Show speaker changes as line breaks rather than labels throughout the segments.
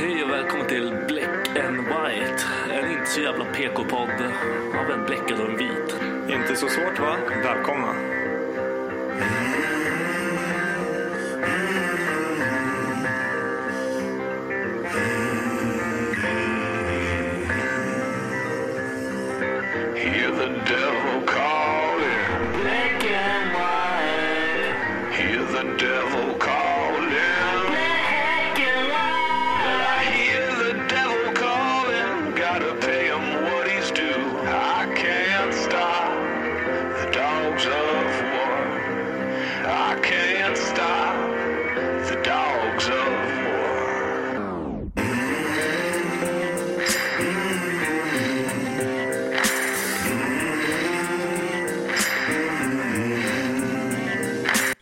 Hej och välkommen till Black and White. En inte så jävla PK-podd av en bläckad och en vit.
Inte så svårt va? Välkomna.
Hear the devil calling. Black and white. Hear the devil calling. Black and white. I hear the devil calling. Gotta pay him what he's due. I can't stop the dogs of war. I can't stop the dogs of war.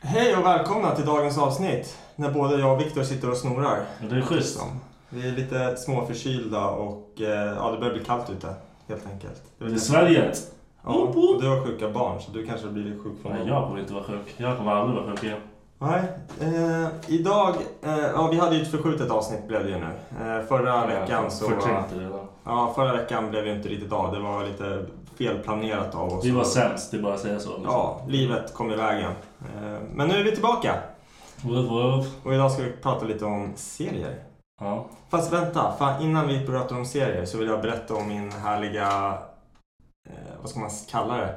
Hej och välkomna till dagens avsnitt. När både jag och Viktor sitter och snorar.
Det är schysst.
Vi är lite småförkylda och eh, ja, det börjar bli kallt ute. Helt enkelt.
Det
Det är
är
lite-
Sverige.
ja, och du har sjuka barn så du kanske blir sjuk från
Nej, jag borde inte vara sjuk. Jag kommer aldrig vara sjuk igen.
Nej, eh, idag... Eh, ja, vi hade ju ett förskjutet avsnitt blev det ju nu. Eh, förra veckan så...
Förträngt det redan.
Ja, förra veckan blev ju inte riktigt av. Det var lite felplanerat av oss.
Vi var sämst, det är bara att säga så. liksom.
Ja, livet kom i vägen. Eh, men nu är vi tillbaka.
Woof, woof.
Och idag ska vi prata lite om serier.
Ja.
Fast vänta, fan, innan vi pratar om serier så vill jag berätta om min härliga, eh, vad ska man kalla det?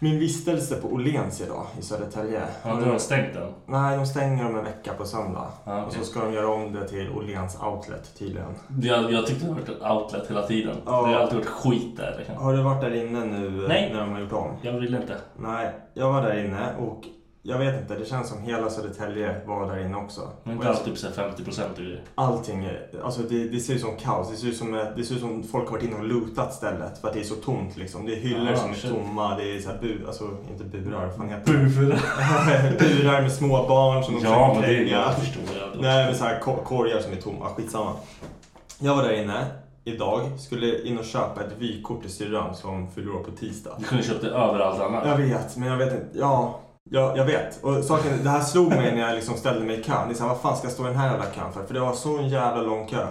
Min vistelse på Åhléns idag i Södertälje.
Ja, du har stängt den.
Nej, de stänger om en vecka på söndag.
Ja,
Och
okej.
så ska de göra om det till Åhléns Outlet tydligen.
Jag, jag tyckte det har varit ett outlet hela tiden.
Ja.
Det har alltid varit skit där. liksom.
Har du varit där inne nu eh,
Nej.
när de har gjort om?
Jag vill inte.
Nej, jag var där inne och jag vet inte, det känns som hela Södertälje var där inne också.
Men
Och
inte
jag-
alls typ så här 50% och grejer.
Allting, är- alltså det, det ser ut som kaos. Det ser ut som, eh, det ser ut som folk har varit inne och lootat stället för att det är så tomt liksom. Det är hyllor
Ah,
som är
shit.
tomma. Det är så här bu, alltså inte burar, vad fan heter
Bufura.
det? Burar med små barn som de
Ja, men
försöker
det
kränga.
jag förstår jag.
Nej, men så här ko- korgar som är tomma. Skitsamma. Jag var där inne idag, skulle in och köpa ett vykort till syrran som fyller år på tisdag.
Du kunde köpt det överallt
Jag
annars.
vet, men jag vet inte. Ja, jag, jag vet. Och saken, det här slog mig när jag liksom ställde mig i kön. Det är så här, vad fan ska jag stå i den här jävla kön för? För det var så en jävla lång kö.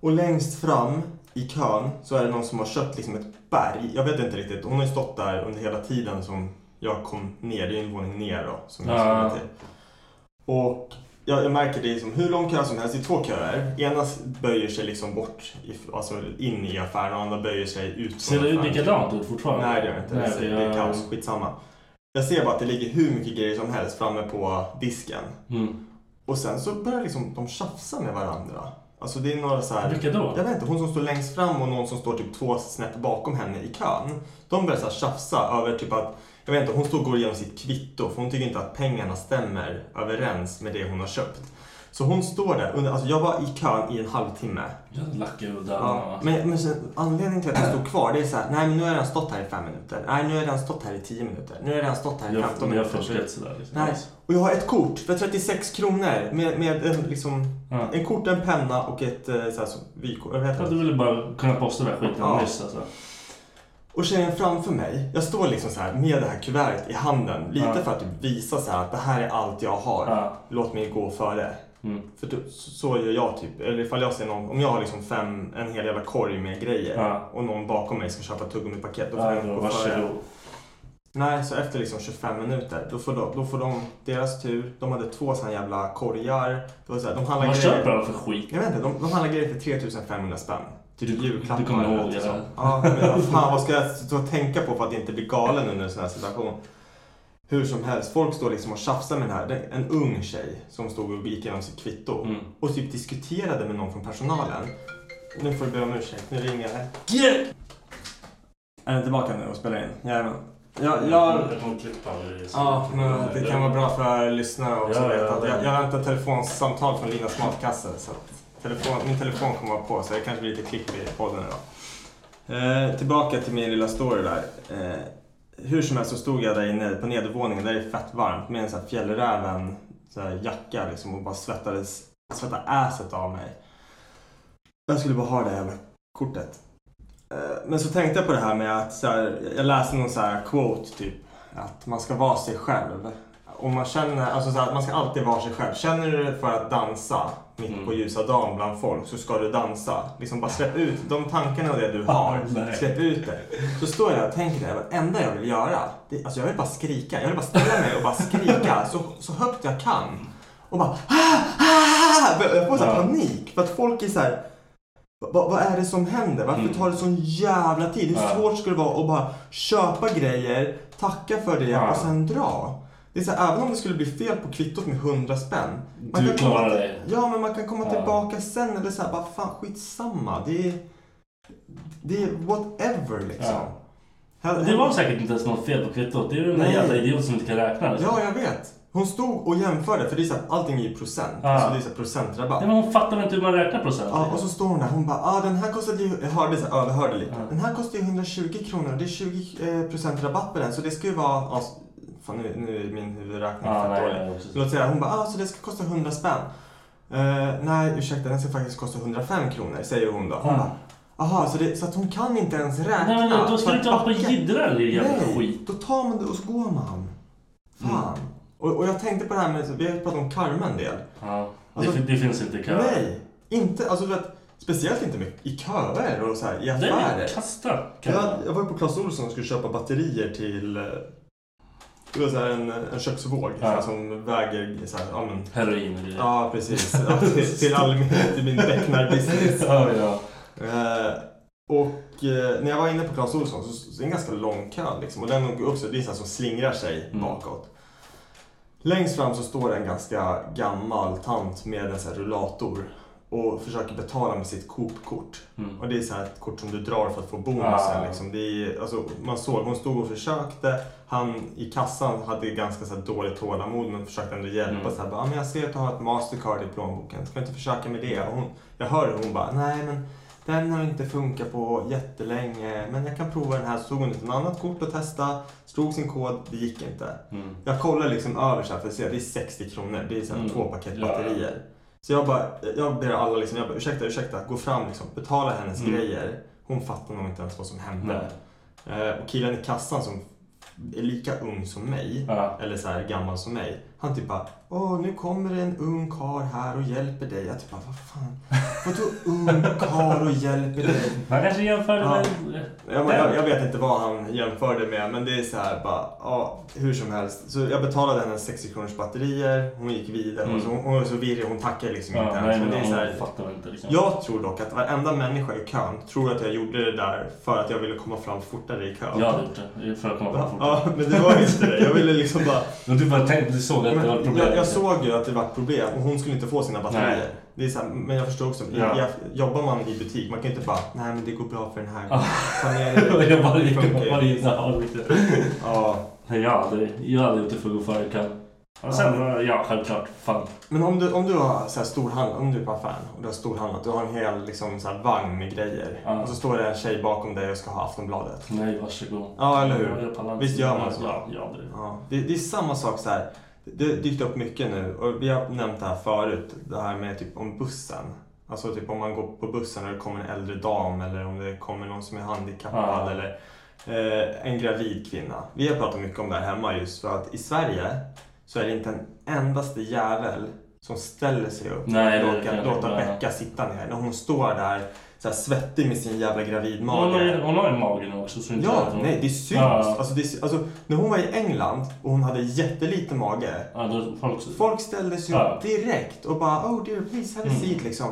Och längst fram i kön så är det någon som har köpt liksom ett berg. Jag vet inte riktigt. Hon har ju stått där under hela tiden som jag kom ner. Det är ju en våning ner då. Som jag
Ja.
skulle till. Och jag, jag märker det är som hur lång kö som helst. Det är två köer. Ena böjer sig liksom bort, i, alltså in i affären och andra böjer sig ut från
Ser det ut
affären.
likadant ut fortfarande?
Nej det gör det inte.
Nej,
det, ser- det är
jag-
kaos. Skitsamma. Jag ser bara att det ligger hur mycket grejer som helst framme på disken.
Mm.
Och sen så börjar liksom de tjafsa med varandra. Alltså det är några så här...
Vilka då?
Jag vet inte, hon som står längst fram och någon som står typ två snett bakom henne i kön. De börjar så här tjafsa över typ att, jag vet inte, hon står och går igenom sitt kvitto för hon tycker inte att pengarna stämmer överens med det hon har köpt. Så hon står där, under, alltså jag var i kön i en halvtimme.
Jag lackar ur
Ja,
dörrarna.
men, men sen, anledningen till att jag stod kvar det är så här, nej men nu har jag redan stått här i fem minuter. Nej nu har jag redan stått här i tio minuter. Nu har jag redan stått här i
Jag,
15
jag har
minuter.
forskat sådär. Liksom.
Nej, och jag har ett kort för 36 kronor med, med en, liksom,
Ja.
en kort, en penna och ett eh, så här, som vykort. Vad heter
Jag
det?
hade velat bara kunna posta den här skiten
Ja.
nyss alltså.
Och tjejen framför mig, jag står liksom så här med det här kuvertet i handen. Lite
Ja.
för att typ visa så här att det här är allt jag har.
Ja.
Låt mig gå före.
Mm.
För typ, så- så gör jag typ. Eller ifall jag ser någon, om jag har liksom fem, en hel jävla korg med grejer.
Ja.
Och någon bakom mig ska köpa tuggummipaket. Då får
Ja,
jag
då,
gå före.
varsågod.
Nej, så efter liksom 25 minuter, då får de, då får de deras tur. De hade två såna jävla korgar. Det var så här, de handlade
Vad
grejer.
köper alla för skit?
Jag vet inte, de, de handlar grejer för 3500 spänn. Typ
Du-
julklappar.
du kommer
eller
ihåg
något
det
sånt.
där.
Ja, men vad fan vad ska jag stå och tänka på för att inte bli galen under en sån här situation? Hur som helst, folk står liksom och tjafsar med den här. Det är en ung tjej som stod och gick igenom sitt kvitto och typ diskuterade med någon från personalen. Nu får du be om ursäkt, nu ringer det. Är den tillbaka nu och spelar in? Jajamän. Jag, jag, Ja, men det kan vara bra för lyssnare också.
Ja,
att veta
ja,
att
ja.
Jag, jag väntar telefonsamtal från Linas matkasse. Så att telefon, min telefon kommer vara på så det kanske blir lite klipp i podden idag. Eh, tillbaka till min lilla story där. Eh, hur som helst så stod jag där inne på nedervåningen där det är fett varmt med en sån här fjällräven så här jacka liksom och bara svettades, svettade asset av mig. Jag skulle bara ha det jävla kortet. Eh, Men så tänkte jag på det här med att så här, jag läste någon så här quote typ att man ska vara sig själv. Om man känner, alltså så här, att man ska alltid vara sig själv. Känner du dig för att dansa mitt på ljusa dagen bland folk så ska du dansa. Liksom bara släpp ut de tankarna och det du har. släpp ut det. Så står jag där och tänker det här, det enda jag vill göra, det, alltså jag vill bara skrika. Jag vill bara ställa mig och bara skrika så, så högt jag kan. Och bara ah, ah! Jag får så här panik för att folk är så här Va, vad är det som händer? Varför
Mm.
tar det sån jävla tid? Hur svårt ska det vara att bara köpa grejer, tacka för det och sen dra? Det är så här, även om det skulle bli fel på kvittot med 100 spänn. Man
Du
kan komma
klarar
till-
dig.
Ja, men man kan komma tillbaka sen eller så här, bara fan skitsamma. Det är, det är whatever liksom. Hell-
Det var säkert inte ens något fel på kvittot. Det är ju den där
Nej.
jävla idioten som inte kan räkna. Liksom.
Ja, jag vet. Hon stod och jämförde för det är så här, allting är ju procent.
Ja.
Alltså det är så här, procentrabatt.
Nej, men hon fattar väl inte hur man räknar procent?
Ja, och så står hon där. Hon bara, ah, den här kostade ju, jag hörde, så, här, överhörde lite. Den här kostar ju 120 kronor. Det är 20 eh, procent rabatt på den. Så det ska ju vara, ja, s- fan nu, nu är min huvudräkning
Ja,
fett
nej,
dålig.
nej, precis.
Så Låt säga, hon bara, ah, så det ska kosta 100 spänn. Eh, nej, ursäkta, den ska faktiskt kosta 105 kronor, säger hon då. Hon
Ja.
bara, aha, så, det, så att hon kan inte ens räkna.
Nej, men
för
då ska du
att
inte hålla på och
backa.
jiddra den där jävla
Nej,
skit. Mm.
då tar man det och så går man. Fan. Och, och jag tänkte på det här med, vi har ju pratat om karma en del.
Ja.
Alltså-
det, fin- det finns inte i kö.
Nej, inte, alltså du vet, speciellt inte med, i köer och så här, i
Nej, men
affärer.
kasta kö.
Jag, jag var ju på Clas Ohlson och skulle köpa batterier till eh, det var så här en, en köksvåg så här,
Ja.
som väger så här, ja men.
Heroin och grejer.
Ja precis, ja, till, till all min, till min becknarbusiness.
Ja, ja.
Eh, och eh, när jag var inne på Clas Ohlson så, så är det en ganska lång kö liksom. Och den går upp så det är en sån som slingrar sig bakåt. Längst fram så står det en ganska gammal tant med en sån här rullator och försöker betala med sitt Coop-kort. Och det är så här ett kort som du drar för att få bonusen.
Ah.
Liksom. Det är, alltså, man såg, hon stod och försökte. Han i kassan hade ganska så här dåligt tålamod men försökte ändå hjälpa.
Mm.
Så här, bara, "Ah, men jag ser att du har ett Mastercard i plånboken, ska du inte försöka med det? Och hon, jag hör hur hon bara, nej men den har inte funkat på jättelänge, men jag kan prova den här. Så tog hon ett annat kort och testade, slog sin kod, det gick inte.
Mm.
Jag kollar liksom över så här, för att se, det är 60 kronor, det är så här, två paket
Ja.
batterier. Så jag bara, jag ber alla liksom, jag bara, ursäkta, ursäkta, gå fram liksom, betala hennes
Mm.
grejer. Hon fattar nog inte ens vad som hände. Eh, och killen i kassan som är lika ung som mig,
Ja.
eller så här gammal som mig. Han typ bara, åh nu kommer det en ung kar här och hjälper dig. Jag typ bara, vad fan, vadå ung kar och hjälper dig?
Man kanske jämför det
Ja.
med...
Jag, men, jag, jag vet inte vad han jämförde med, men det är så här bara, ja, hur som helst. Så jag betalade henne 60 kronors batterier, hon gick vidare och så, hon var så virrig, hon tackade liksom inte
Mm. Ja,
ens.
nej,
Men det är
men
så här,
hon fattar väl inte liksom.
jag tror dock att varenda människa i kön tror att jag gjorde det där för att jag ville komma fram fortare i kön.
Jag hade gjort det. eh, För att komma fram fortare.
Ja, men det var ju inte det. Jag ville liksom bara...
Men du bara tänkte, du såg att det var ett
Men
problem.
jag, jag såg ju att det var ett problem och hon skulle inte få sina batterier.
Nej.
Det är så här, men jag förstår också,
Ja.
jag, jobbar man i butik, man kan ju inte bara nej men det går bra för den här.
Ja.
Planera
Jag bara
det
gick
funkar
och bara
ju.
gissade.
Ja.
Nej, jag hade, jag hade gjort det för att gå före i kön. Och sen, ja självklart. Fan.
Men om du, om du har så här storhandlat, om du är på affären och du har storhandlat, du har en hel liksom, så här, vagn med grejer.
Ja.
Och så står det en tjej bakom dig och ska ha Aftonbladet.
Nej, varsågod.
Ja, eller hur?
Jag pallar inte.
Visst gör man så?
Ja, ja det.
Ja, det, det är samma sak så här. Det det har dykt upp mycket nu och vi har nämnt det här förut. Det här med typ om bussen. Alltså typ om man går på bussen och det kommer en äldre dam eller om det kommer någon som är handikappad
Ja.
eller eh, en gravid kvinna. Vi har pratat mycket om det här hemma just för att i Sverige så är det inte en endaste jävel som ställer sig upp
Nej, det-
och låter,
det-
låter
det-
Becka sitta ner. När hon står där så här svettig med sin jävla gravidmage.
Hon har, ju- hon har ju magen också. Så det är inte
Ja,
att hon-
nej det syns.
Ja.
Alltså, det, sy- alltså, när hon var i England och hon hade jätteliten mage.
Ja, då, folk,
Folk ställde sig
Ja. Mm.
upp direkt och bara oh dear please have a seat liksom.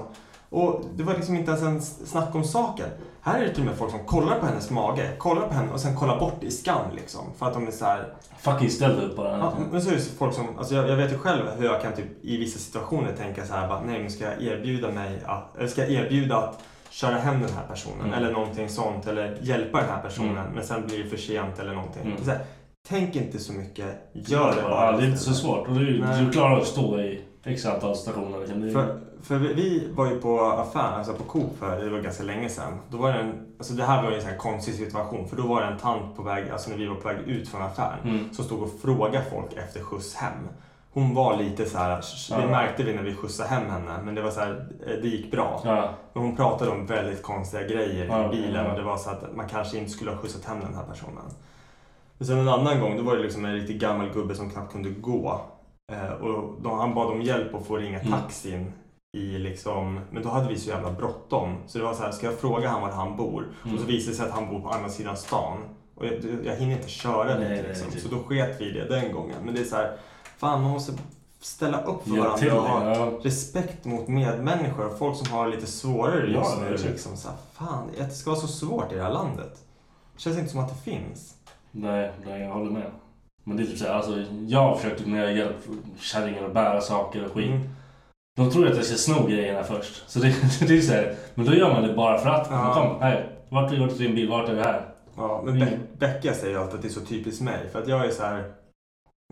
Och det var liksom inte ens en snack om saken. Här är det till och med folk som kollar på hennes mage, kollar på henne och sen kollar bort i skam liksom. För att de är så här,
Fucking ställ dig upp bara.
Ja, men så är det så folk som, alltså jag, jag vet ju själv hur jag kan typ i vissa situationer tänka så här bara, nej men ska jag erbjuda mig att, eller ska jag erbjuda att köra hem den här personen
Mm.
eller någonting sånt eller hjälpa den här personen men sen blir det för sent eller någonting. Så här, tänk inte så mycket, gör det bara.
Mm. Ja, det är inte så svårt. Och du,
Nej.
du klarar att stå i x antal stationer. liksom. Kan du...
För, för vi- vi var ju på affären, alltså på Coop för det var ganska länge sedan. Då var det, en, alltså det här var ju en sån här konstig situation för då var det en tant på väg, alltså när vi var på väg ut från affären som stod och frågade folk efter skjuts hem. Hon var lite så här, det märkte vi när vi skjutsade hem henne, men det var så här, eh, det gick bra.
Ja.
Men hon pratade om väldigt konstiga grejer
Ja,
i bilen
ja.
och det var så att man kanske inte skulle ha skjutsat hem den här personen. Men sen en annan gång, då var det liksom en riktigt gammal gubbe som knappt kunde gå. Eh, och de, han bad om hjälp att få ringa
Mm.
taxin. I liksom, men då hade vi så jävla bråttom. Så det var så här, ska jag fråga han var han bor? Och så
Mm.
visade det sig att han bor på andra sidan stan. Och jag, jag hinner inte köra
Nej,
dit
nej, typ.
liksom.
nej.
Så då sket vi i det den gången. Men det är så här, fan man måste ställa upp för
Hjälp till,
varandra och ha
ja.
respekt mot medmänniskor och folk som har lite svårare
Ja,
just
det är
nu.
det.
Liksom, så här, fan, att det ska vara så svårt i det här landet. Det känns inte som att det finns.
Nej, nej, jag håller med. Men det är typ såhär, alltså, jag försökte när jag hjälpt kärringar att bära saker och skit.
Mm.
De tror att jag ska sno grejerna först. Så det, det är såhär, men då gör man det bara för att.
Ja.
Kom, här. Vart är vart är din bil? Vart är det här?
Ja, men
Mm.
Be- Becka säger ju alltid att det är så typiskt mig. För att jag är så här.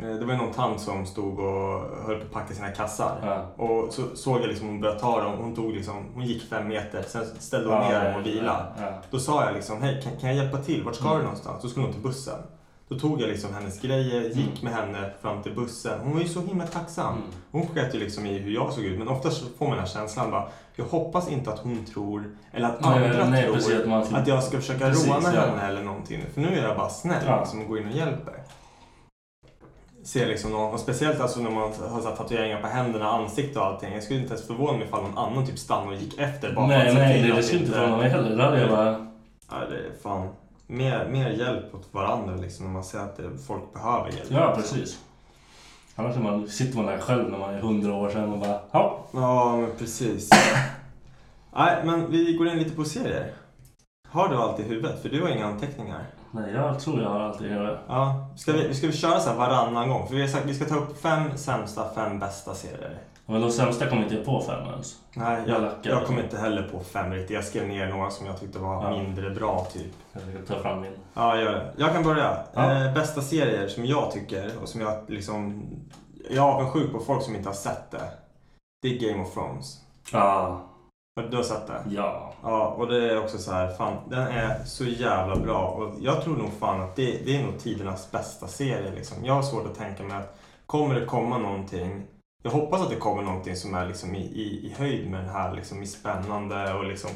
eh, Det var ju någon tant som stod och höll på att packa sina kassar.
Ja.
Och så såg jag liksom hon började ta dem. Hon, tog liksom, hon gick fem meter, sen ställde hon ner dem och vila.
Ja.
Då sa jag liksom, hej kan, kan jag hjälpa till? Vart
Mm.
ska du någonstans? Då skulle hon till bussen. Då tog jag liksom hennes grejer,
Mm.
gick med henne fram till bussen. Hon var ju så himla tacksam. Hon sket ju liksom i hur jag såg ut. Men oftast så får man den här känslan bara, jag hoppas inte att hon tror, eller att
Nej,
andra
nej,
tror,
precis, att
att,
man ska-
jag ska försöka
Precis,
råna
ja.
henne eller någonting. För nu är jag bara snäll
Ja.
liksom, och går in och hjälper. Ser liksom någon, och speciellt alltså när man har så här tatueringar på händerna, ansikte och allting. Jag skulle inte ens förvåna mig ifall någon annan typ stannade och gick efter bara för att
Nej,
se
nej,
till
det,
att
det skulle inte förvåna mig heller. Då hade jag bara...
Ja, det är fan. Mer, mer hjälp åt varandra liksom, när man ser att det, folk behöver hjälp.
Ja, precis. Annars är man, sitter man där själv när man är hundra år sedan och bara, ja.
Ja, men precis. Nej, men vi går in lite på serier. Har du allt i huvudet? För du har inga anteckningar.
Nej, jag tror jag har allt i huvudet.
Ja, ska vi, ska vi köra så här varannan gång? För vi har sagt att vi ska ta upp fem sämsta, fem bästa serier.
Men de sämsta kommer inte jag på fem ens.
Nej,
Jag
jag,
lackar.
jag kommer inte heller på fem riktigt. Jag skrev ner några som jag tyckte var
Ja.
mindre bra, typ.
Jag ska ta fram min.
Ja, gör det. Jag kan börja.
Ja.
Eh, bästa serier som jag tycker och som jag liksom... Jag är avundsjuk på folk som inte har sett det. Det är Game of Thrones.
Ja.
Har du sett det?
Ja.
Ja, och det är också så här, fan, den är så jävla bra. Och jag tror nog fan att det, det är nog tidernas bästa serie. Liksom. Jag har svårt att tänka mig att kommer det komma någonting. Jag hoppas att det kommer någonting som är liksom i, i, i höjd med den här liksom i spännande och liksom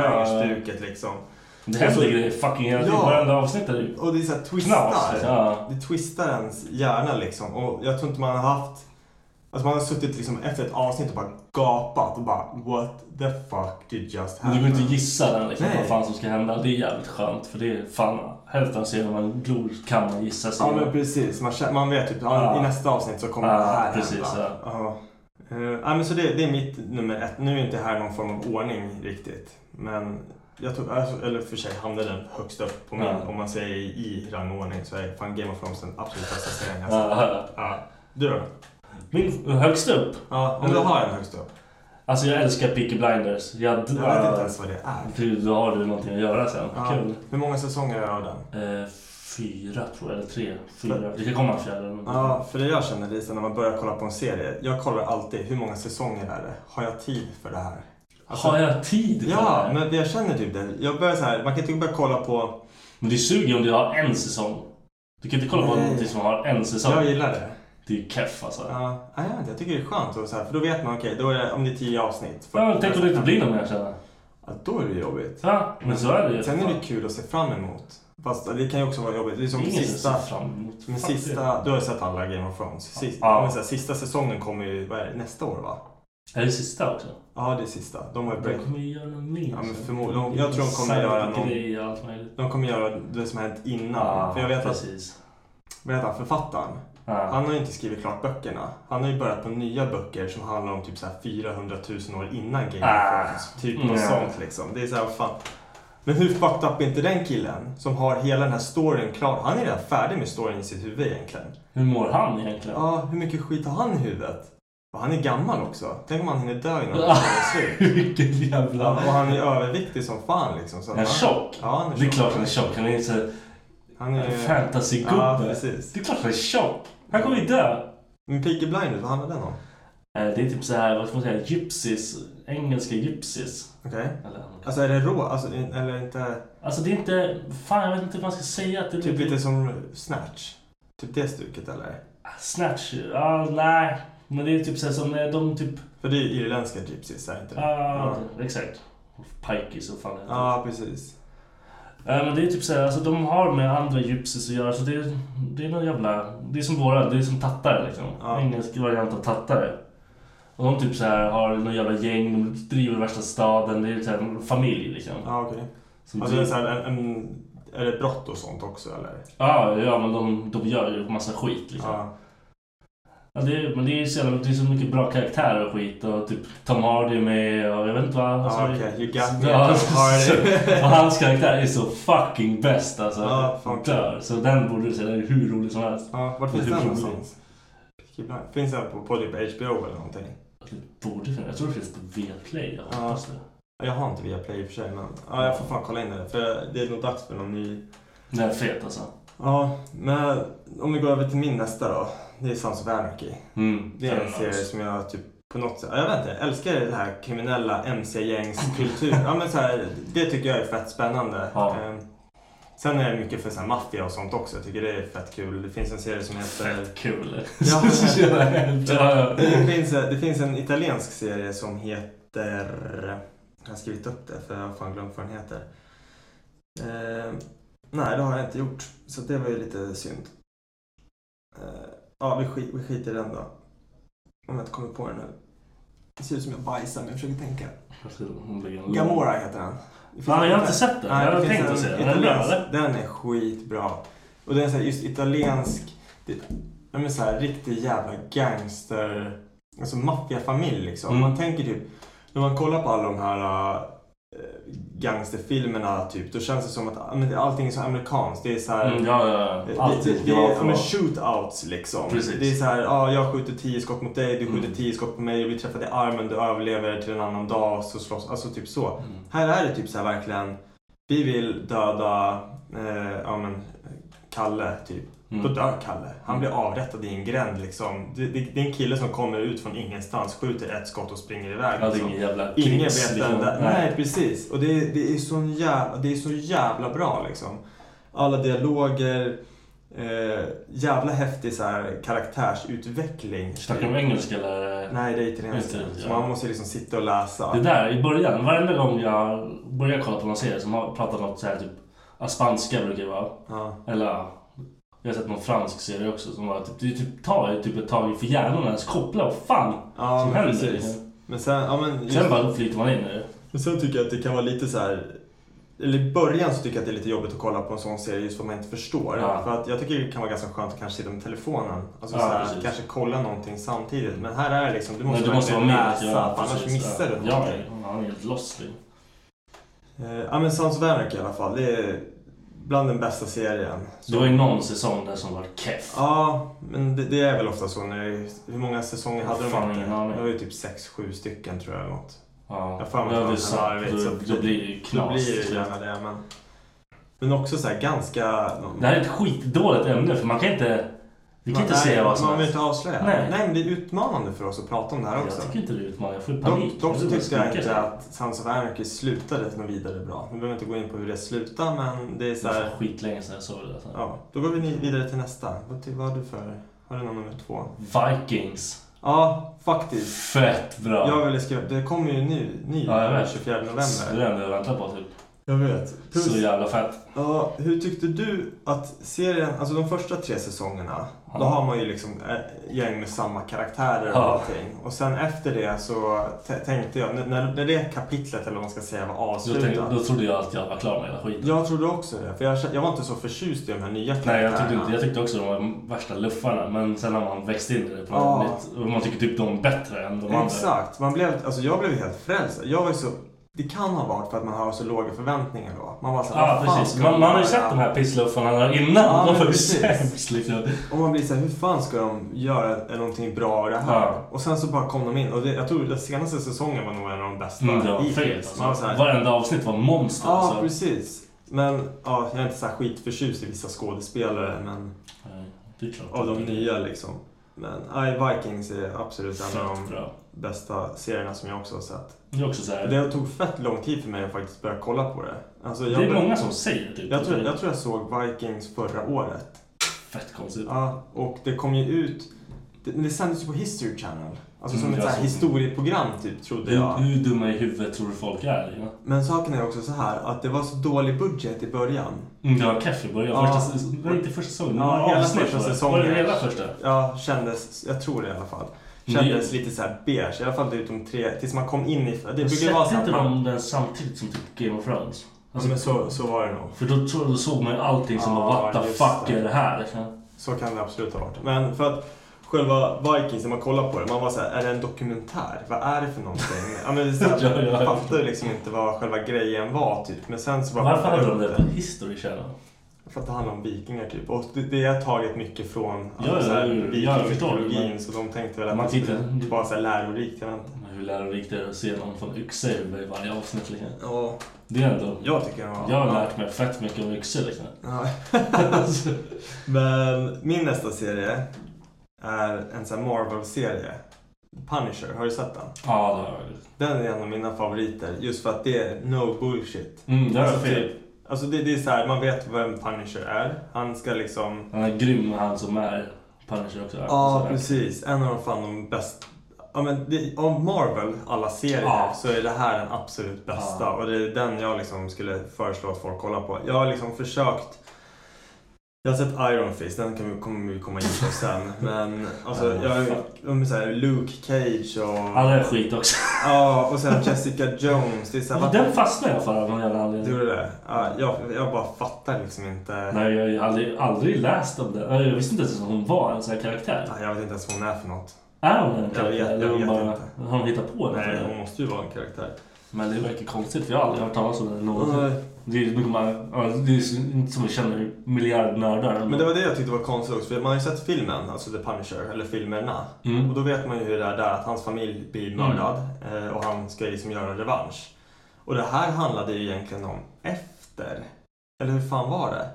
cliffhanger-stuket liksom.
Det händer
Alltså-
grejer fucking hela tiden.
Ja.
Varenda avsnitt är det ju
Och det är så här twistar.
knas. liksom. Ja.
det twistar ens hjärna liksom. Och jag tror inte man har haft... Alltså man har suttit liksom efter ett avsnitt och bara gapat och bara What the fuck did just
Men Du
happen?
går inte att gissa den liksom,
Nej.
vad fan som ska hända. Det är jävligt skönt för det är fan hälften av serien man glor kan man gissa sig.
Ja men precis. Man, känner- man vet typ ja,
Ja.
i nästa avsnitt så kommer
Ja,
det här
precis,
hända. Ja. Eh, ja, men så det, det är mitt nummer ett. Nu är inte här någon form av ordning riktigt. Men jag tog, alltså, eller för sig hamnade den högst upp på min.
Ja.
Om man säger i rangordning så är fan Game of Thrones den absolut bästa serien jag sett.
Ja.
Ja. Du då?
Min högst upp.
Ja, om du har en högst upp.
Alltså jag älskar Peaky Blinders. Jag,
Jag vet inte ens vad det är.
Du, då har du någonting att göra sen.
Ja.
Kul.
Hur många säsonger har den?
Eh, fyra tror jag, eller tre. Fyra. Det kan komma en fjärde. eller någonting.
Ja, för det jag känner Lisa när man börjar kolla på en serie. Jag kollar alltid hur många säsonger är det? Har jag tid för det här? Alltså-
har jag tid för det
Ja,
här?
men jag känner typ det. Jag börjar så här, man kan typ börja kolla på...
Men det suger om du har en säsong. Du kan inte kolla på
Nej.
någonting som har en säsong.
Jag gillar det.
Det är ju keff alltså.
Ja, nej, jag vet inte, jag tycker det är skönt. Och så här, för då vet man, okej, då är det, om det är tio avsnitt.
Ja, men tänk om det inte blir någon mer sen.
Ja, då är det jobbigt.
Ja, men så är det ju.
Sen är det kul att se fram emot. Fast det kan ju också vara jobbigt. Det är som
Inget
sista...
att se fram emot.
Men
Fuck det.
sista, du har ju sett alla Game of Thrones. Sista,
Ja.
men så här, sista säsongen kommer ju vad är det, nästa år va?
Är det sista också?
Ja, det är sista. De har ju
De
break.
kommer ju göra något mer.
Ja, men
sen.
förmodligen. Jag tror de kommer göra någon-
Grej, allt möjligt.
De kommer göra det som hänt innan.
Ja,
för jag vet att
precis.
vad heter han, författaren?
Ja.
Han har ju inte skrivit klart böckerna. Han har ju börjat på nya böcker som handlar om typ så här 400 000 år innan Game
Ah.
of Thrones. Typ något
Ja.
sånt liksom. Det är så här, vad fan. Men hur fucked up är inte den killen som har hela den här storyn klar? Han är redan färdig med storyn i sitt huvud egentligen.
Hur mår han egentligen?
Ja, hur mycket skit har han i huvudet? Och han är gammal också. Tänk om han hinner dö innan
Ja.
han är slut.
Vilket
Ja,
jävla...
och han är överviktig som fan liksom. Så
Är han tjock?
Ja, han är
Det är
tjock.
klart han är tjock. Han är ju så här
Han är...
fantasy-gubbe.
Ja, precis.
det är klart han är tjock. Han kommer ju dö.
Men Peaky Blinders, vad handlar den om?
Eh, Det är typ så här, vad ska man säga, gypsies. Engelska gypsies.
Okej.
Eller,
Alltså är det rå? Alltså, in- eller inte...
alltså det är inte, fan jag vet inte vad man ska säga. att Det är
Typ lite som Snatch? Typ det stuket eller?
Snatch, ja nej. Men det är typ så här som eh, de typ, ah,
För det är ju irländska gypsies, är det inte det?
ja exakt. Pikes och fan heter det.
Ja, precis.
Eh, Men det är typ såhär, alltså de har med andra gypsies att göra så det är, det är någon jävla... Det är som våra, det är som tattare liksom.
Ja.
Engelsk variant av tattare. Och de typ så här har någon jävla gäng, de driver värsta staden, det är så här en familj liksom.
Ja, okej.
Som
Alltså det är,
driver-
så här, en, en, är det brott och sånt också eller?
ja, ja, men de, de gör ju massa skit liksom. Ja.
Ja.
det är, men det är ju så jävla, det är så mycket bra karaktärer och skit och typ Tom Hardy är med och jag vet inte vad.
Ja,
alltså, det-
okej. You got me.
Ja,
Tom Hardy.
och hans karaktär är så fucking bäst alltså.
Ja, fan.
Dör. Så den borde du se, den är hur rolig som helst.
Ja, vart finns
Det är
den
roligt.
någonstans? Peaky Blinders. Finns den på, på typ HBO eller någonting?
Det borde finnas. Jag tror det finns på Viaplay. Jag
Ja.
hoppas det.
Jag har inte Viaplay i och för sig men ja, jag får fan kolla in det för det är nog dags för någon ny
Den är fet alltså.
Ja, men om vi går över till min nästa då. Det är Sons of Anarchy.
Mm.
Det är en serie som jag typ på något sätt, ja, jag vet inte, jag älskar det här kriminella mc-gängskultur. Ja men så här, det tycker jag är fett spännande.
Ja.
Eh, Sen är det mycket för så här maffia och sånt också. Jag tycker det är fett kul. Det finns en serie som heter...
Fett kul.
Ja.
ja, ja.
Det finns, det finns en italiensk serie som heter... Jag har skrivit upp det för jag har fan glömt vad den heter. Eh, nej, det har jag inte gjort. Så det var ju lite synd. Eh, ja, vi, skit, vi skiter i den då. Om jag inte kommer på den nu. Det ser ut som jag bajsar men jag försöker tänka.
Hon blir en-
Gamora heter den. Det finns
Mm. Nej, jag
en-
har inte sett den.
Nej,
Jag
det
hade
finns
tänkt
en
att se den. Den är bra
italiensk-
eller?
Den är skitbra. Och den är så här, just italiensk. Det, ja, men så här, riktig jävla gangster. Alltså maffiafamilj liksom.
Mm.
Man tänker typ. När man kollar på alla de här äh, gangsterfilmerna typ. Då känns det som att ja, men det- allting är så amerikanskt. Det är så här.
Mm, ja, ja,
Det,
ja.
det,
Alltid.
det,
Ja,
är
för-
ja, men shootouts liksom.
Precis.
Det är så här, ja, jag skjuter tio skott mot dig, du skjuter
Mm.
tio skott på mig, vi träffar i armen, du överlever till en annan dag, så slåss, alltså typ så.
Mm.
Här är det typ så här verkligen. Vi vill döda eh, ja, men, Kalle typ. Då
Mm.
dör Kalle. Han blir avrättad i en gränd liksom. Det, det, det är en kille som kommer ut från ingenstans, skjuter ett skott och springer iväg.
Ja, det är
liksom.
ingen jävla
Ingen
krigs,
vet
liksom.
vem det är.
Nej.
Nej, precis. Och det, det, är så jävla, det är så jävla bra liksom. Alla dialoger. Eh, jävla häftig så här, karaktärsutveckling.
Snackar du om engelska eller?
Nej, det är italienska.
Inte,
Så
ja.
man måste liksom sitta och läsa.
Det där i början, varenda gång jag börjar kolla på någon serie som har pratat om något så här typ ja, spanska brukar det vara.
Ja.
Eller ja, jag har sett någon fransk serie också som var typ, det typ tar ju typ ett tag för hjärnan att ens koppla vad fan
Ja,
som
men
händer.
precis.
liksom.
Men sen, ja, men just-
Sen bara flyter man in i det.
Men sen tycker jag att det kan vara lite så här... Eller i början så tycker jag att det är lite jobbigt att kolla på en sån serie just för att man inte förstår.
Ja.
För att jag tycker det kan vara ganska skönt att kanske sitta med telefonen. Alltså
Ja,
så här,
precis.
kanske kolla någonting samtidigt. Men här är det liksom, du måste,
Men du måste vara
verkligen
med.
läsa. för annars
precis.
missar du
Ja,
någonting.
ja, han är helt lost. liksom.
Eh, Ja men Sons of Anarchy i alla fall. Det är bland den bästa serien. Så-
Det var ju någon säsong där som var keff.
Ja, men det, det är väl ofta så. När det, är- hur många säsonger hade de?
Fan,
inte?
ingen aning.
Det var ju typ 6-7 stycken tror jag. Eller något.
Ja,
Jag får använda
det var
den
ju
här
så-
larvigt, så
då, då blir det ju
Då
knas. typ.
blir det gärna det. Men, men också så här ganska...
Det här är ett skitdåligt ämne för man kan inte... Vi kan
Man-
inte
nej,
säga vad som
Man vill
helst.
inte avslöja. Nej.
Nej.
men det är utmanande för oss att prata om det här också.
Jag tycker inte det är utmaning. Jag får
Dock,
panik.
dock så
Jag
tyckte jag
skriker.
inte att Sons of Anarchy slutade något vidare bra. Vi behöver inte gå in på hur det slutar men det är så
Det var
här,
skitlänge sedan jag såg det. Alltså.
ja, Då går vi ni- vidare till nästa. Vad, ty- vad har du för... Har du någon nummer två?
Vikings.
Ja, faktiskt.
Fett bra.
Jag ville skriva... Det kommer ju nu, ny
Ja, jag vet.
24 november.
Det är det enda jag väntar på typ.
Jag vet. Plus,
Så jävla fett.
ja, hur tyckte du att serien, alltså de första tre säsongerna, då har man ju liksom eh, gäng med samma karaktärer och
Ja.
allting. Och sen efter det så t- tänkte jag, n- när, när det kapitlet eller vad man ska säga var
Då, tänkte,
avslutat.
då trodde jag att jag var klar med hela skiten.
Jag trodde också det, för jag, jag var inte så förtjust i de här nya
Nej,
karaktärerna.
jag tyckte, inte, jag tyckte också de var de värsta luffarna. Men sen har man växt in i det på
Ja.
något nytt. Och man tycker typ de är bättre än de andra.
Exakt. Man blev, alltså jag blev helt frälst. Jag var ju så, det kan ha varit för att man har så låga förväntningar då. Man var så
Ja,
här, "Vad fan
precis.
ska
Man,
de
man har ju
göra?"
sett de här pissluffarna innan.
Ja,
de
men
var ju
precis.
sämst liksom.
Och man blir så här, hur fan ska de göra någonting bra av det här?
Ja.
Och sen så bara kom de in. Och det, jag tror den senaste säsongen var nog en av de bästa
Mm, det var fet
hittills. Man var så
alltså.
här,
Varenda avsnitt var monster
Ja,
alltså.
precis. Men ja, jag är inte så här skitförtjust i vissa skådespelare men,
Nej, Det är klart.
av de nya liksom. Men nej, Vikings är absolut en av
Fett
de
bra.
bästa serierna som jag också har sett.
Det är också så här, det,
Det tog fett lång tid för mig att faktiskt börja kolla på det. Alltså jag,
är många som säger typ.
jag, tror,
att
jag tror jag såg Vikings förra året.
det är fett konstigt.
Ja, och det kom ju ut... Det, det sändes ju på History Channel. Alltså som
Mm,
ett så här
jag såg-
historieprogram typ, trodde jag.
Hur, hur dumma i huvudet tror du folk är? Ja?
Men saken är också så här att det var så dålig budget i början.
Mm, det var keff i början.
Ja.
Första, säsongen- det var inte första säsongen.
Ja,
några
hela
avsnitt
första
var det.
säsongen.
Var det hela första? Mm.
Ja, kändes... Jag tror det i alla fall. Kändes lite så här beige. I alla fall typ de tre... Tills man kom in i... Det brukar vara så
Släppte
här...
inte
Man,
de den samtidigt som typ Game of Thrones?
ja, men så, så var det nog.
För då, tror- då såg man ju allting som
Ja,
var what the
just
fuck
det.
är det här?
Så kan det absolut ha varit. Men för att själva Vikings, när man kollar på det, man var såhär, är det en dokumentär? Vad är det för någonting? ja, men det är så här,
Ja, ja, ja.
Jag fattar ju liksom inte vad själva grejen var typ. Men sen så bara...
Varför hade de det på History Channel?
För att det handlar om vikingar typ. Och det, det är taget mycket från alltså,
Ja, ja,
så här,
ja, ja, jag förstår.
vikingmytologin. Så de tänkte väl att
Man
man skulle
tittar-
vara såhär lärorikt, jag vet inte.
Men Hur lärorikt är det att se någon få en yxa i huvudet i varje avsnitt? Liksom.
Ja,
Det är ändå...
jag tycker det var...
Jag har lärt mig fett mycket om yxor liksom.
Ja.
Alltså,
Men min nästa serie är en sån här Marvel-serie. Punisher, har du sett den?
Ja, det har jag.
Den är en av mina favoriter, just för att det är no bullshit.
Mm, det har jag
Alltså,
fel.
typ, alltså det, det är så här, man vet vem Punisher är. Han ska liksom...
Han är grym han som är Punisher också.
Ja,
Så-
precis. En av de fan de bästa... Ja, men det, av Marvel, alla serier,
Ja.
så är det här den absolut bästa.
Ja.
Och det är den jag liksom skulle föreslå att folk kollar på. Jag har liksom försökt... Jag har sett Iron Fist, den kan vi, kommer vi komma in på sen. Men alltså,
Ja,
jag,
fuck.
jag, så här, Luke Cage och...
Han är skit också.
Ja, och sen Jessica Jones. Det är så här, vad
Den fastnade jag för av någon jävla
Du
anledning.
gjorde det? Ja, jag, jag bara fattar liksom inte.
Nej, jag har aldrig, aldrig läst om det. Nej, Jag visste inte ens att hon var en sån här karaktär.
Ja, Jag vet inte ens vad hon är för något.
Är hon en karaktär?
vet- jag
eller hon
vet
bara,
inte.
har hon hittat på
Nej,
det?
hon måste ju vara en karaktär.
Men det verkar konstigt för jag har aldrig hört talas om det någonsin.
Nej.
Det är mycket man, ja, det är så- inte som vi känner miljardnördar.
Eh, Men det var det jag tyckte var konstigt också. För man har ju sett filmen, alltså The Punisher, eller filmerna.
Mm.
Och då vet man ju hur det är där, att hans familj blir mördad eh, och han ska liksom göra revansch. Och det här handlade ju egentligen om efter. Eller hur fan var det?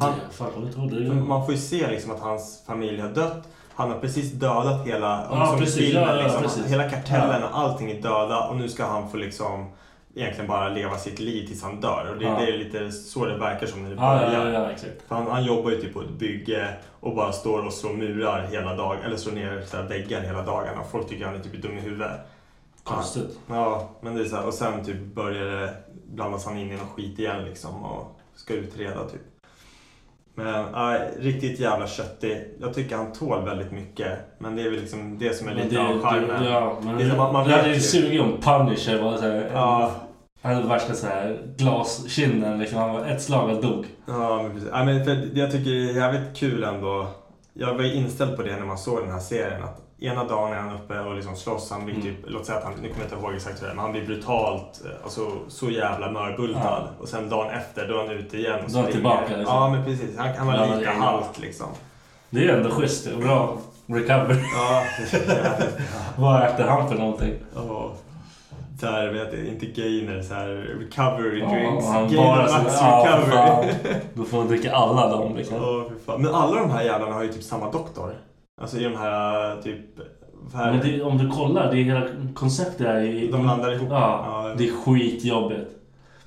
Han,
Ja, Fan, jag trodde
För
det.
Man får ju se liksom att hans familj har dött. Han har precis dödat hela,
Ja,
som i
precis. Ja, ja,
liksom,
precis.
hela kartellen och allting är döda och nu ska han få liksom egentligen bara leva sitt liv tills han dör. Och det,
Ja.
det är lite så det verkar som när det
Ja,
börjar.
ja, ja, ja, exakt.
För han, han jobbar ju typ på ett bygge och bara står och slår murar hela dagen, eller slår ner så här väggar hela dagarna. Folk tycker han är typ dum i huvudet.
Konstigt.
Ja, men det är så här, och sen typ börjar det blandas han in i någon skit igen liksom och ska utreda typ. Men nej, riktigt jävla köttig. Jag tycker han tål väldigt mycket. Men det är väl liksom det som är
Men
lite
det,
av charmen.
det, ja, men
Det är som att man
jag
vet
hade ju
ju.
sugit om Punisher var såhär,
Ja.
han hade värsta såhär glaskinnan liksom, han var ett slag och dog.
Ja, men precis. Nej, men för det- jag tycker det är jävligt kul ändå. Jag var ju inställd på det när man såg den här serien. Att ena dagen är han uppe och liksom slåss. Han blir
Mm.
typ, låt säga att han, nu kommer jag inte ihåg exakt hur det är, men han blir brutalt, eh, alltså så jävla mörbultad. Och sen dagen efter, då är han ute igen. Och
Då är han
springer.
tillbaka, liksom.
Ja, men precis. Han kan
Ja,
vara
men
lite
det är-
halt liksom.
Det är ändå schysst, det är bra recovery.
Ja, det är jävligt.
Vad äter han för någonting?
Ja. Så här, vet jag, inte gainer, så här recovery drinks.
Ja, han
Gainer
bara så,
Max
ja, fan.
recovery.
Då får han dricka alla dem liksom.
Ja, fy fan. Men alla de här jävlarna har ju typ samma doktor. Alltså i de här äh, typ... Här,
Men det, om du kollar, det är hela konceptet är ju...
De blandar ihop.
Ja,
Ja.
det är skitjobbigt.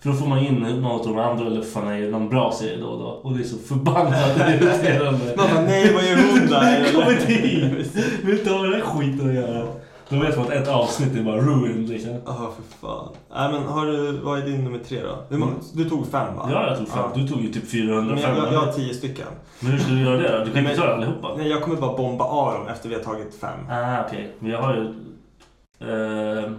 För då får man in något av de andra luffarna i någon bra serie då och då. Och det är så förbannat irriterande.
Man bara, nej vad gör hon där?
Kom inte hit! Vi har inte ha med den här skiten att göra. Då vet man att ett avsnitt är bara ruined liksom.
Jaha, för fan. Nej, men har du, vad är din nummer tre då? Hur många,
Mm.
Du tog fem va?
Ja, jag tog fem. Du tog ju typ 400
Men jag, jag, jag har
jag...
tio stycken.
Men hur ska du göra det då? Du kan ju
Men-
inte ta allihopa.
Nej, jag kommer bara bomba av dem efter vi har tagit fem.
Ah, okej. Men jag har ju... Eh,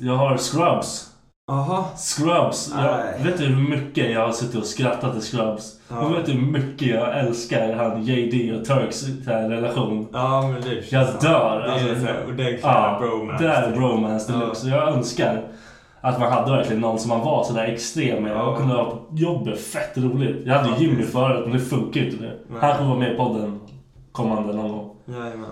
jag har Scrubs.
Jaha.
Scrubs.
Nej.
Jag, vet du hur mycket jag har suttit och skrattat till Scrubs?
Ja.
Och vet du hur mycket jag älskar han JD och Turks så här, relation?
Ja, men det är Alltså,
Jag dör.
Det är så här ordentliga
Ja,
bromance.
Det är bromance deluxe. Jag önskar att man hade verkligen någon som man var sådär extrem med.
Ja.
Man kunde ha jobbet fett roligt. Jag hade ju Jimmy förut men det funkar ju inte nu.
Nej.
Han kommer vara med i podden kommande någon gång.
Jajamän.